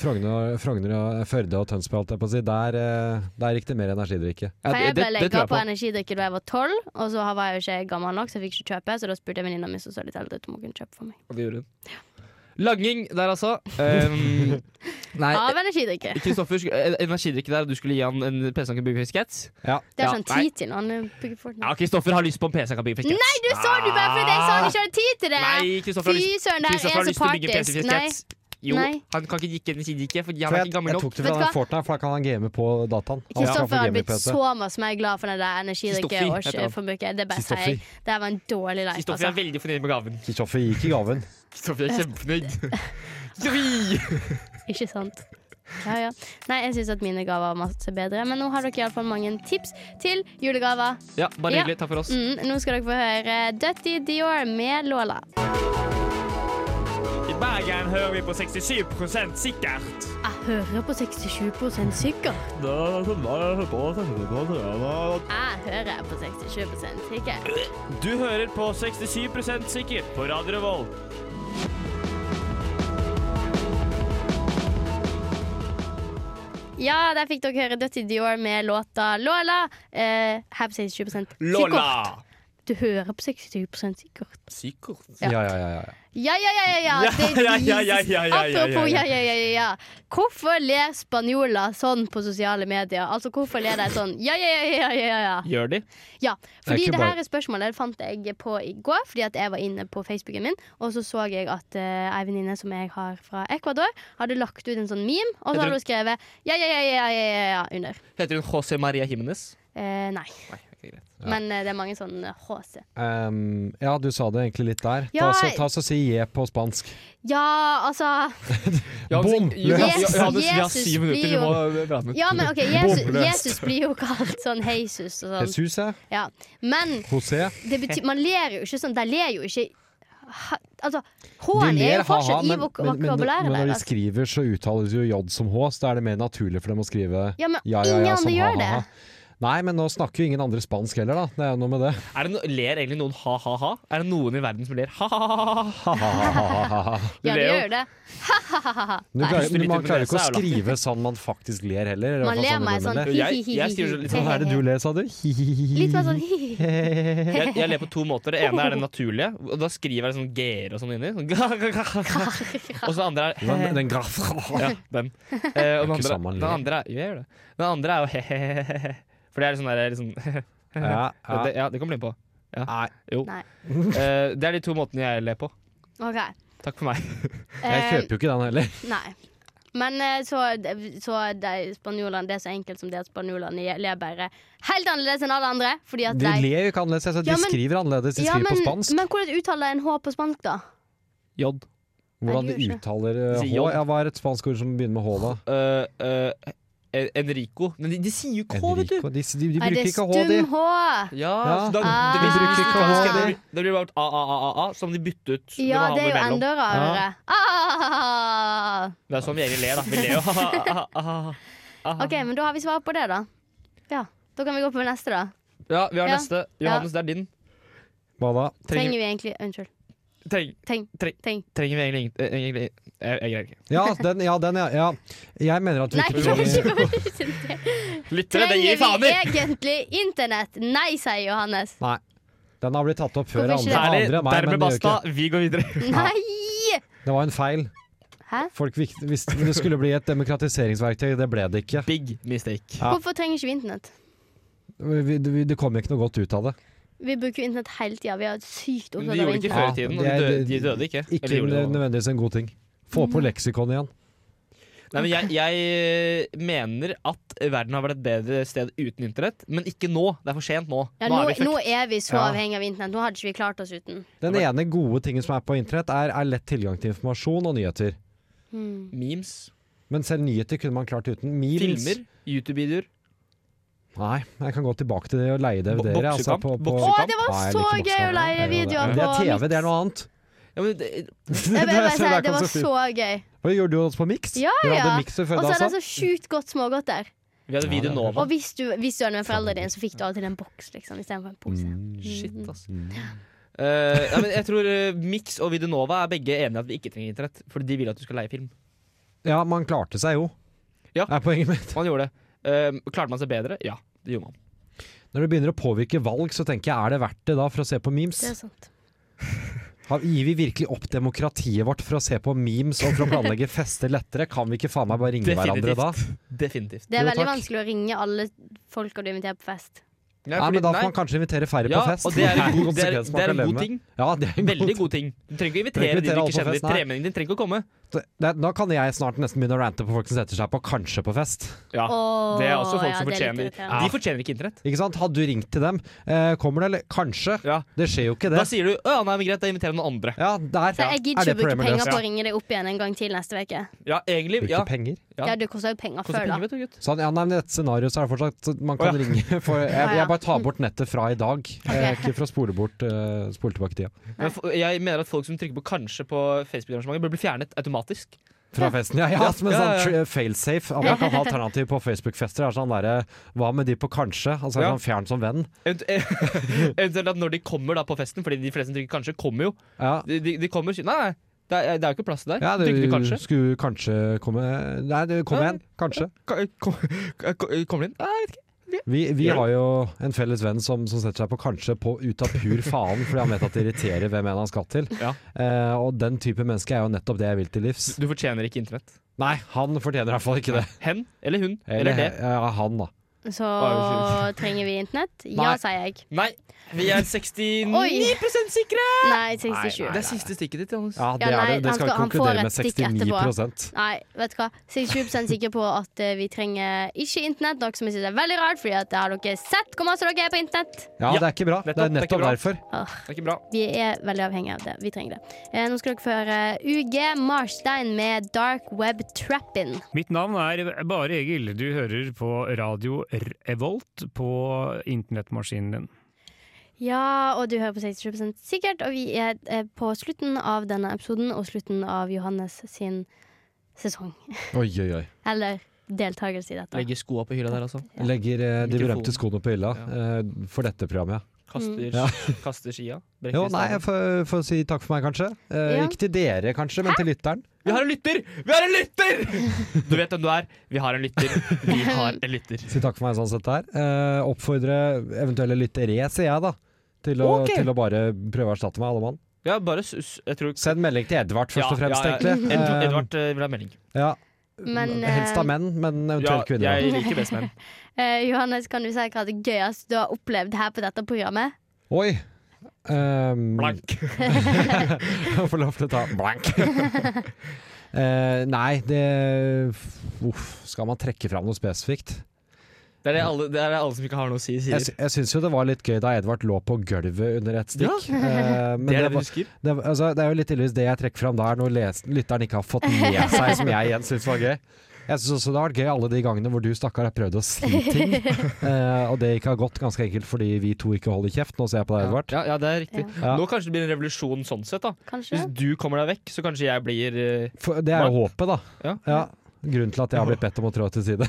Speaker 4: Frogner, og- Frogner og Førde og Tønsberg, holdt jeg på å si. Der, eh, der gikk det mer energidrikke.
Speaker 2: Ja,
Speaker 3: For jeg ble legga
Speaker 2: tror jeg
Speaker 3: på energidrikke da jeg var 12, og så var jeg jo ikke gammel nok, så jeg fikk ikke kjøpe, så da spurte jeg venninna mi som så litt eldre ut om hun kunne kjøpe for meg.
Speaker 2: Og det gjorde hun. Langing der, altså. Um, nei,
Speaker 3: Av energidrikke.
Speaker 2: Kristoffer, sku- eh, energidrikke der, du skulle gi han en PC han kan bygge fiskets?
Speaker 4: Ja.
Speaker 3: Det har
Speaker 2: Ja,
Speaker 3: ikke han
Speaker 2: nei.
Speaker 3: tid til når han bygger Fortnite.
Speaker 2: Ja, Kristoffer har lyst på en PC han kan bygge fiskets.
Speaker 3: Nei, du så det bare fordi jeg sa han ikke hadde tid til det!
Speaker 2: Nei, Kristoffer har
Speaker 3: Fy
Speaker 2: lyst
Speaker 3: søren, det
Speaker 2: Kristoffer
Speaker 3: her
Speaker 2: har
Speaker 3: er
Speaker 2: lyst
Speaker 3: så
Speaker 2: til å bygge en PC
Speaker 3: partisk. Nei.
Speaker 2: fiskets. Jo,
Speaker 3: Nei.
Speaker 2: han kan ikke gikke energidrikke, fordi han
Speaker 4: For
Speaker 2: er
Speaker 4: jeg,
Speaker 2: ikke gammel
Speaker 4: jeg
Speaker 2: nok.
Speaker 4: tok det
Speaker 3: Vet
Speaker 4: fra
Speaker 3: du hva?
Speaker 4: den Fortnite, for da kan han game på dataen. Han skal få
Speaker 3: Kristoffer hadde blitt
Speaker 4: gaming-PC.
Speaker 3: så mye mer glad for den der
Speaker 2: Kristoffer heter han.
Speaker 3: energidrikkeforbruket. Det bare sier
Speaker 4: Kristoffer.
Speaker 3: jeg. Det her var en dårlig leik.
Speaker 2: Kristoffer er
Speaker 3: Altså.
Speaker 2: veldig fornøyd med gaven.
Speaker 4: Kristoffer gikk i gaven.
Speaker 2: Kristoffer er kjempefornøyd. Kristoffer!
Speaker 3: Ikke sant? Ja, ja. Nei, jeg syns at mine gaver var masse bedre, men nå har dere iallfall mange tips til julegaver.
Speaker 2: Ja, bare
Speaker 3: Ja.
Speaker 2: hyggelig. Takk for oss.
Speaker 3: Mm, nå skal dere få høre Dutty Dior med Lola.
Speaker 6: I Bergen hører vi på 67 sikkert.
Speaker 3: Jeg hører på 67 sikkert. Jeg hører på 67 sikkert.
Speaker 6: Du hører på 67 sikkert på Radio Revolt.
Speaker 3: Ja, der fikk dere høre Dutty Dior med låta Lola. Eh, her på 67 sikkert. Du hører på 67 sikkert.
Speaker 2: Sikkert.
Speaker 3: Ja.
Speaker 4: Ja, ja, ja. ja.
Speaker 3: Ja, ja, ja, ja, ja. Det
Speaker 6: Ja, ja, ja, ja, ja, ja, ja.
Speaker 3: Apropos ja, ja, ja, ja, ja. Hvorfor ler spanjoler sånn på sosiale medier? Altså, hvorfor ler de sånn ja, ja, ja, ja, ja, ja?
Speaker 2: Gjør de?
Speaker 3: Ja, fordi
Speaker 4: ikke
Speaker 3: det
Speaker 4: bare-
Speaker 3: her spørsmålet fant jeg på i går, fordi at jeg var inne på Facebooken min, og så så jeg at uh, ei venninne som jeg har fra Ecuador, hadde lagt ut en sånn meme, og så
Speaker 2: Heter
Speaker 3: hadde
Speaker 2: hun-
Speaker 3: hun skrevet ja, ja, ja, ja, ja, ja, ja under.
Speaker 2: Heter hun José Maria Jimenez?
Speaker 3: Eh, nei,
Speaker 2: Nei, ok, greit.
Speaker 3: men eh, det er mange sånne HC.
Speaker 4: Ehm, ja, du sa det egentlig litt der.
Speaker 3: Ja,
Speaker 4: Ta, så, ta så si je på spansk.
Speaker 3: Ja, altså
Speaker 4: Bom!
Speaker 3: Johannes,
Speaker 2: Johannes, vi har
Speaker 3: Jesus
Speaker 2: syv minutter. Du må prate med
Speaker 3: Ja, men ok, Jesus,
Speaker 4: Bomløst.
Speaker 3: Jesus blir jo kalt sånn Jesus og sånn.
Speaker 4: Jesus, ja.
Speaker 3: Ja. Men
Speaker 4: José.
Speaker 3: det betyr, man ler jo ikke sånn. De ler jo ikke ha, Altså,
Speaker 4: De
Speaker 3: H-en er
Speaker 4: ler
Speaker 3: jo
Speaker 4: ha-ha,
Speaker 3: fortsatt i
Speaker 4: men,
Speaker 3: vok-
Speaker 4: men, men,
Speaker 3: vokabulæret altså.
Speaker 4: men når de
Speaker 3: deres.
Speaker 4: skriver, så uttales jo J som H, så da er det mer naturlig for dem å skrive
Speaker 3: Ja, men
Speaker 4: ja, ja,
Speaker 3: ingen
Speaker 4: ja,
Speaker 3: andre
Speaker 4: som
Speaker 3: gjør det.
Speaker 4: ha-ha-ha. Nei, men nå snakker jo ingen andre spansk heller, da. Det er jo noe med det.
Speaker 2: Er det no ler egentlig noen ha-ha-ha? Er det noen i verden som ler ha-ha-ha?
Speaker 4: Du
Speaker 3: Ja, de
Speaker 2: ler jo.
Speaker 3: gjør jo det.
Speaker 4: klarer,
Speaker 2: Hvis du
Speaker 4: men man
Speaker 2: litt
Speaker 4: klarer ikke å
Speaker 2: improviser, er jo
Speaker 4: skrive sånn man faktisk ler heller. eller
Speaker 3: Man
Speaker 4: hva
Speaker 3: ler
Speaker 4: faen
Speaker 3: meg
Speaker 4: du
Speaker 3: sånn
Speaker 4: mener.
Speaker 2: Jeg- jeg skriver litt sånn,
Speaker 4: Hva er det du ler, sa du?
Speaker 3: Litt mer sånn hi-hi.
Speaker 2: Jeg, jeg ler på to måter. Det ene er det naturlige, og da skriver jeg sånn g-er og sånn inni. Sånn, og så det andre er
Speaker 4: Den, den graf...
Speaker 2: Ja, den. Eh, og den
Speaker 4: ikke
Speaker 2: andre,
Speaker 4: sånn man
Speaker 2: den
Speaker 4: ler.
Speaker 2: andre er jo jeg gjør det. Den andre er jo he-he-he. For det er litt sånn der liksom,
Speaker 4: Ja, ja.
Speaker 2: Det, ja, det kan bli på.
Speaker 4: Nei.
Speaker 2: Jo.
Speaker 3: Nei.
Speaker 2: Eh, det er de to måtene jeg ler på.
Speaker 3: OK.
Speaker 2: Takk for meg.
Speaker 4: Jeg
Speaker 3: eh,
Speaker 4: kjøper jo ikke den heller.
Speaker 3: nei. Men eh, så, så de spanjolene Det er så enkelt som det at spanjolene ler bare helt annerledes enn alle andre. Fordi at
Speaker 4: De
Speaker 3: de,
Speaker 4: ler jo ikke annerledes. Altså, de
Speaker 3: Ja, men-
Speaker 4: skriver annerledes. De
Speaker 3: Ja,
Speaker 4: skriver
Speaker 3: men-
Speaker 4: på spansk.
Speaker 3: Men hvordan uttaler en H på spansk, da?
Speaker 2: J.
Speaker 4: Hvordan
Speaker 3: Nei, de gjør ikke.
Speaker 4: uttaler eh,
Speaker 2: De
Speaker 4: H?
Speaker 2: sier J.
Speaker 4: Ja, hva er et spansk ord som begynner med H, da?
Speaker 2: Eh, eh, En- Enrico. Men de, de sier jo K, vet du.
Speaker 4: Enrico. De, de, de
Speaker 3: Nei,
Speaker 4: bruker
Speaker 3: det er
Speaker 4: ikke H, de.
Speaker 3: stum H.
Speaker 2: Ja,
Speaker 4: Ja.
Speaker 2: så da,
Speaker 3: Ah.
Speaker 2: det, blir,
Speaker 4: De bruker ikke
Speaker 2: det,
Speaker 4: H,
Speaker 2: blir, det blir bare a-a-a-a, som de bytter ut.
Speaker 3: Ja,
Speaker 2: må ha
Speaker 3: det er jo
Speaker 2: mellom.
Speaker 3: enda rarere. Ah!
Speaker 2: Det er sånn vi egentlig ler, da. Vi ler jo Ah, ha-ha-ha.
Speaker 3: OK, men da har vi svar på det, da. Ja, Da kan vi gå på neste, da.
Speaker 2: Ja, vi har
Speaker 3: Ja.
Speaker 2: neste. Johannes, det er din.
Speaker 4: Hva da?
Speaker 3: Trenger vi egentlig Unnskyld.
Speaker 2: treng,
Speaker 3: Tenk.
Speaker 2: treng,
Speaker 3: Tenk.
Speaker 2: trenger vi egentlig ingen- eh, egentlig Jeg, jeg greier ikke.
Speaker 4: Ja, den, ja, den, ja. ja. Jeg mener at vi
Speaker 3: Nei,
Speaker 4: ikke
Speaker 3: jeg klarer
Speaker 4: trenger
Speaker 3: ikke å komme ut til det.
Speaker 2: Lyttere, det gir
Speaker 3: Trenger
Speaker 2: faen
Speaker 3: vi
Speaker 2: i!
Speaker 3: egentlig internett? Nei, sier Johannes.
Speaker 4: Nei. Den har blitt tatt opp før
Speaker 3: Hvorfor
Speaker 4: andre.
Speaker 3: ikke?
Speaker 2: Herlig.
Speaker 4: andre meg,
Speaker 2: Dermed
Speaker 4: men det gjør
Speaker 2: basta. Vi går videre.
Speaker 3: Nei!
Speaker 4: ikke. Det var en feil.
Speaker 3: Hæ?
Speaker 4: Folk vik- visste det skulle bli et demokratiseringsverktøy, det ble det ikke.
Speaker 2: Big mistake.
Speaker 4: Ja.
Speaker 3: Hvorfor trenger ikke vi internett?
Speaker 4: Vi, vi, det kom ikke noe godt ut av det.
Speaker 3: Vi bruker jo internett hele tida. Vi er sykt
Speaker 2: Men de
Speaker 3: opptatt av
Speaker 2: gjorde det ikke før i
Speaker 3: internett.
Speaker 2: tiden, og de
Speaker 4: Ja, det er-
Speaker 2: døde, de døde ikke. Eller
Speaker 4: Ikke
Speaker 2: gjorde de det?
Speaker 4: nødvendigvis en god ting. Få på leksikon igjen.
Speaker 2: Nei, men jeg, jeg mener at verden har vært et bedre sted uten internett, men ikke nå. Det er for sent nå.
Speaker 3: Ja,
Speaker 2: nå
Speaker 3: nå,
Speaker 2: er vi fucked.
Speaker 3: nå er vi så
Speaker 4: Ja.
Speaker 3: avhengig av internett. Nå hadde ikke vi klart oss uten.
Speaker 4: Den ene gode tingen som er på internett, er, er lett tilgang til informasjon og nyheter.
Speaker 3: Hmm.
Speaker 2: Memes,
Speaker 4: Men selv nyheter kunne man klart uten. Memes.
Speaker 2: filmer, YouTube-videoer.
Speaker 4: Nei, jeg kan gå tilbake til det og leie DVD-er.
Speaker 2: Bo-
Speaker 4: Altså,
Speaker 2: boksekamp?
Speaker 4: på, på,
Speaker 3: Å,
Speaker 2: Boksekamp?
Speaker 3: det var
Speaker 4: Nei, jeg
Speaker 3: så
Speaker 4: liker
Speaker 3: gøy å
Speaker 4: boksekamp.
Speaker 3: leie videoer
Speaker 4: Men
Speaker 3: på
Speaker 4: det er TV,
Speaker 3: Mix.
Speaker 4: det er noe annet.
Speaker 2: Ja, men det,
Speaker 3: Jeg vil
Speaker 4: Så
Speaker 3: bare si
Speaker 4: der
Speaker 3: at Det
Speaker 4: kom
Speaker 3: var
Speaker 4: Sofie.
Speaker 3: så gøy.
Speaker 4: Hva gjorde du også på Mix?
Speaker 3: Ja,
Speaker 4: Dere
Speaker 3: ja.
Speaker 4: hadde Mixer før
Speaker 3: Og så
Speaker 4: da,
Speaker 3: er det
Speaker 4: sant?
Speaker 3: så sjukt godt smågodt der.
Speaker 2: vi hadde Video
Speaker 4: Ja, det er
Speaker 2: Nova.
Speaker 3: Og hvis du, hvis du hadde med foreldrene dine, så fikk du alltid en boks liksom, istedenfor en
Speaker 2: Mm.
Speaker 3: pose.
Speaker 2: Shit,
Speaker 3: Mm.
Speaker 2: altså. Eh, nei, men jeg tror eh, Mix og Videonova er begge enige i at vi ikke trenger internett. Fordi de vil at du skal leie film.
Speaker 4: Ja, man klarte seg jo.
Speaker 2: Ja.
Speaker 4: Er poenget mitt.
Speaker 2: Man gjorde det. Eh, klarte man seg bedre? Ja, det gjorde man.
Speaker 4: Når det begynner å påvirke valg, så tenker jeg er det verdt det da for å se på memes?
Speaker 3: Det er sant.
Speaker 4: Har- Gir vi virkelig opp demokratiet vårt for å se på memes og for å planlegge fester lettere? Kan vi ikke faen meg bare ringe hverandre da?
Speaker 2: Definitivt. Definitivt.
Speaker 3: Det er
Speaker 4: Jo,
Speaker 3: veldig
Speaker 4: takk.
Speaker 3: vanskelig å ringe alle folka du inviterer på fest.
Speaker 4: Nei, men Da får man kanskje invitere færre
Speaker 2: ja,
Speaker 4: på fest.
Speaker 2: og det er en god, det er,
Speaker 4: konsekvens man
Speaker 2: det er
Speaker 4: kan
Speaker 2: en
Speaker 4: leve
Speaker 2: god
Speaker 4: med.
Speaker 2: ting.
Speaker 4: Ja, det er en god
Speaker 2: Veldig
Speaker 4: ting.
Speaker 2: god ting. Du trenger ikke
Speaker 4: Du trenger
Speaker 2: invitere de du
Speaker 4: ikke
Speaker 2: ikke
Speaker 4: invitere alle på
Speaker 2: kjenner.
Speaker 4: fest, nei.
Speaker 2: Tremenningen din trenger ikke å komme.
Speaker 4: Det, da kan jeg snart nesten begynne å rante på folk som setter seg på kanskje på fest.
Speaker 2: Ja,
Speaker 3: Åh,
Speaker 2: Det er også folk
Speaker 3: ja,
Speaker 2: som
Speaker 3: det er litt
Speaker 2: fortjener
Speaker 3: irriterende.
Speaker 2: De fortjener ikke internett.
Speaker 4: Ikke sant? Hadde du ringt til dem eh, Kommer det, eller kanskje?
Speaker 2: Ja.
Speaker 4: Det skjer jo ikke det.
Speaker 2: Da sier du 'Å ja, nei, men greit, da inviterer jeg noen andre'.
Speaker 4: Ja, der
Speaker 3: Så
Speaker 4: er
Speaker 3: jeg gidder
Speaker 4: det
Speaker 3: ikke å bruke
Speaker 4: problemet
Speaker 3: penger
Speaker 4: løst.
Speaker 3: på å ringe deg opp igjen en gang til neste uke.
Speaker 2: Ja, egentlig.
Speaker 4: Bruke
Speaker 2: Ja.
Speaker 4: penger.
Speaker 2: Ja.
Speaker 3: Ja, det koster jo penger
Speaker 2: Koster
Speaker 3: før,
Speaker 2: penger,
Speaker 3: da.
Speaker 2: vet du, gutt.
Speaker 4: Sånn, ja, nei, men I dette scenarioet så er det fortsatt så man kan
Speaker 2: Å, ja.
Speaker 4: ringe. For jeg,
Speaker 3: Ja, ja.
Speaker 4: jeg bare tar bort nettet fra i dag. Eh, ikke for å spole, bort, eh, spole tilbake tida.
Speaker 2: Men f- Jeg mener at folk som trykker på 'kanskje' på Facebook-arrangementer, bør bli fjernet automatisk.
Speaker 4: Fra festen. Ja, ja, som en
Speaker 2: Ja, ja, ja.
Speaker 4: sånn tr- failsafe. At man kan ha alternativ på Facebook-fester. er sånn derre, Hva med de på kanskje? Altså
Speaker 2: Ja.
Speaker 4: sånn Fjern som venn.
Speaker 2: Eventu- Eventuelt at når de kommer da på festen, fordi de fleste som trykker 'kanskje', kommer jo.
Speaker 4: Ja,
Speaker 2: De, de, de kommer og sier 'nei, nei, det er, det er jo ikke plass til deg'.
Speaker 4: ja du,
Speaker 2: trykker du 'kanskje'?
Speaker 4: skulle kanskje komme Nei, du, kom
Speaker 2: Ja.
Speaker 4: igjen. Kanskje.
Speaker 2: Ka- ko- ko- Kommer du inn? Nei, jeg vet ikke.
Speaker 4: Vi, vi har jo en felles venn som, som setter seg på kanskje på ut av pur faen, fordi han vet at det irriterer hvem enn han skal til.
Speaker 2: Ja.
Speaker 4: Eh, og den type menneske er jo nettopp det jeg vil til livs.
Speaker 2: Du fortjener ikke internett.
Speaker 4: Nei, han fortjener i hvert fall ikke det.
Speaker 2: Hen eller hun eller, det.
Speaker 4: Ja, han, da.
Speaker 3: Så
Speaker 2: Oi,
Speaker 3: trenger vi internett? Ja,
Speaker 4: Nei.
Speaker 3: sier jeg.
Speaker 2: Nei, vi er 69 sikre!
Speaker 3: Nei, 67.
Speaker 2: Det er siste stikket ditt, Johannes.
Speaker 4: Ja, det
Speaker 3: Ja, nei,
Speaker 4: er det. Det
Speaker 3: han
Speaker 4: skal vi
Speaker 3: skal- han får
Speaker 4: konkludere med
Speaker 3: et stikk etterpå.
Speaker 4: 69
Speaker 3: Nei, vet du hva. 67 sikker på at eh, vi trenger ikke internett, noe som jeg synes er veldig rart, fordi at eh, har dere sett hvor masse dere er på internett?
Speaker 4: Ja,
Speaker 2: Ja,
Speaker 4: det er ikke bra.
Speaker 2: nettopp,
Speaker 4: Det er
Speaker 2: det er ikke
Speaker 4: nettopp
Speaker 2: bra.
Speaker 4: derfor.
Speaker 2: Det er ikke bra.
Speaker 3: Vi er veldig avhengige av det. Vi trenger det. Eh, nå skal dere få høre UG Marstein med Dark Web Trappin.
Speaker 8: Mitt navn er Bare Egil. Du hører på radio Revolt på internettmaskinen din.
Speaker 3: Ja, og du hører på 67 sikkert, og vi er eh, på slutten av denne episoden og slutten av Johannes sin sesong.
Speaker 4: Oi, oi, oi.
Speaker 3: Eller deltakelse i dette.
Speaker 2: Legger skoa på hylla der, altså.
Speaker 3: Ja.
Speaker 4: Legger eh, de
Speaker 2: Mikrofonen.
Speaker 4: berømte skoene på hylla eh, for dette programmet.
Speaker 2: Kaster,
Speaker 4: Ja.
Speaker 2: kaster skia. brekker
Speaker 4: Jo, nei,
Speaker 2: staven.
Speaker 4: jeg får, får si takk for meg, kanskje. Eh,
Speaker 3: Ja.
Speaker 4: Ikke til dere, kanskje, men til lytteren.
Speaker 2: Vi har en lytter! Vi har en lytter! Du vet hvem du er. Vi har en lytter. Vi har en lytter.
Speaker 4: Si takk for meg sånn sett der. Eh, oppfordre eventuelle lyttere, sier jeg da, til å,
Speaker 2: Ok.
Speaker 4: til å bare prøve å erstatte meg, alle mann.
Speaker 2: Ja, bare sus... Jeg tror
Speaker 4: Send melding til Edvard, først og fremst, egentlig.
Speaker 2: Edvard,
Speaker 4: Eh,
Speaker 2: Edvard eh, vil ha melding.
Speaker 4: ja.
Speaker 3: Men, eh,
Speaker 4: Helst av menn, men eventuelt kvinner. da.
Speaker 2: jeg liker best menn.
Speaker 3: Eh, Johannes, kan du si hva det gøyeste du har opplevd her på dette programmet?
Speaker 4: Oi! Um,
Speaker 2: Blank.
Speaker 4: Få lov til å ta blank. Eh, nei, det Uff, skal man trekke fram noe spesifikt?
Speaker 2: Det er det alle, det er det alle som ikke har noe å si,
Speaker 4: Jeg,
Speaker 2: sier.
Speaker 4: sy- jeg syns jo det var litt gøy da Edvard lå på gulvet under et stikk. Eh, men
Speaker 2: Det er det
Speaker 4: det,
Speaker 2: vi
Speaker 4: var,
Speaker 2: husker.
Speaker 4: det, var- altså, det er jo litt tydeligvis det jeg trekker fram da, er noe les, lytteren ikke har fått med seg, som jeg igjen syns var gøy. Jeg syns også det har vært gøy alle de gangene hvor du stakkar har prøvd å si ting, eh, og det ikke har gått ganske enkelt fordi vi to ikke holder kjeft. Nå ser jeg på deg, Edvard.
Speaker 2: Ja, ja, det er riktig.
Speaker 4: Ja.
Speaker 2: Nå kanskje det blir en revolusjon sånn sett, da.
Speaker 3: Kanskje?
Speaker 2: Hvis du kommer deg vekk, så kanskje jeg blir eh,
Speaker 4: For, det er jo håpet, da.
Speaker 2: Ja.
Speaker 4: Ja. Grunnen til at jeg har blitt bedt om å trå til side.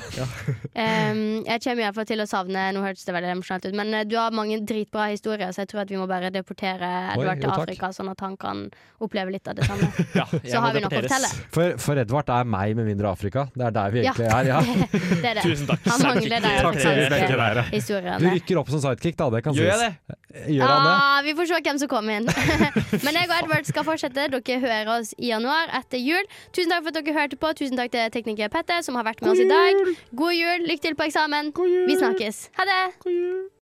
Speaker 3: Um, jeg kommer i hvert fall til å savne Nå hørtes det veldig emosjonelt ut, men eh, du har mange dritbra historier, så jeg tror at vi må bare deportere Edvard til
Speaker 4: jo, takk.
Speaker 3: Afrika, sånn at han kan oppleve litt av det samme.
Speaker 2: Ja, jeg må
Speaker 3: Så har vi nok å
Speaker 2: deporteres.
Speaker 3: fortelle.
Speaker 4: For, for Edvard er meg med mindre Afrika. Det er der vi
Speaker 3: Ja.
Speaker 4: egentlig er. Ja.
Speaker 3: Det er det.
Speaker 2: Tusen takk.
Speaker 3: Han mangler deg,
Speaker 4: Takk til
Speaker 3: Takk.
Speaker 4: begge dere. Du
Speaker 3: Historiene.
Speaker 4: rykker opp som sidekick, da. Det kan
Speaker 2: Gjør jeg
Speaker 4: sies.
Speaker 2: det?
Speaker 4: Gjør han det?
Speaker 3: Ah, vi får se hvem som kommer inn. Men jeg og Edward skal fortsette. Dere hører oss i januar etter jul. Tusen takk for at dere hørte på. Tusen takk til tekniker Petter, som har vært med oss i dag. God jul. Lykke til på eksamen. Vi snakkes. Ha det.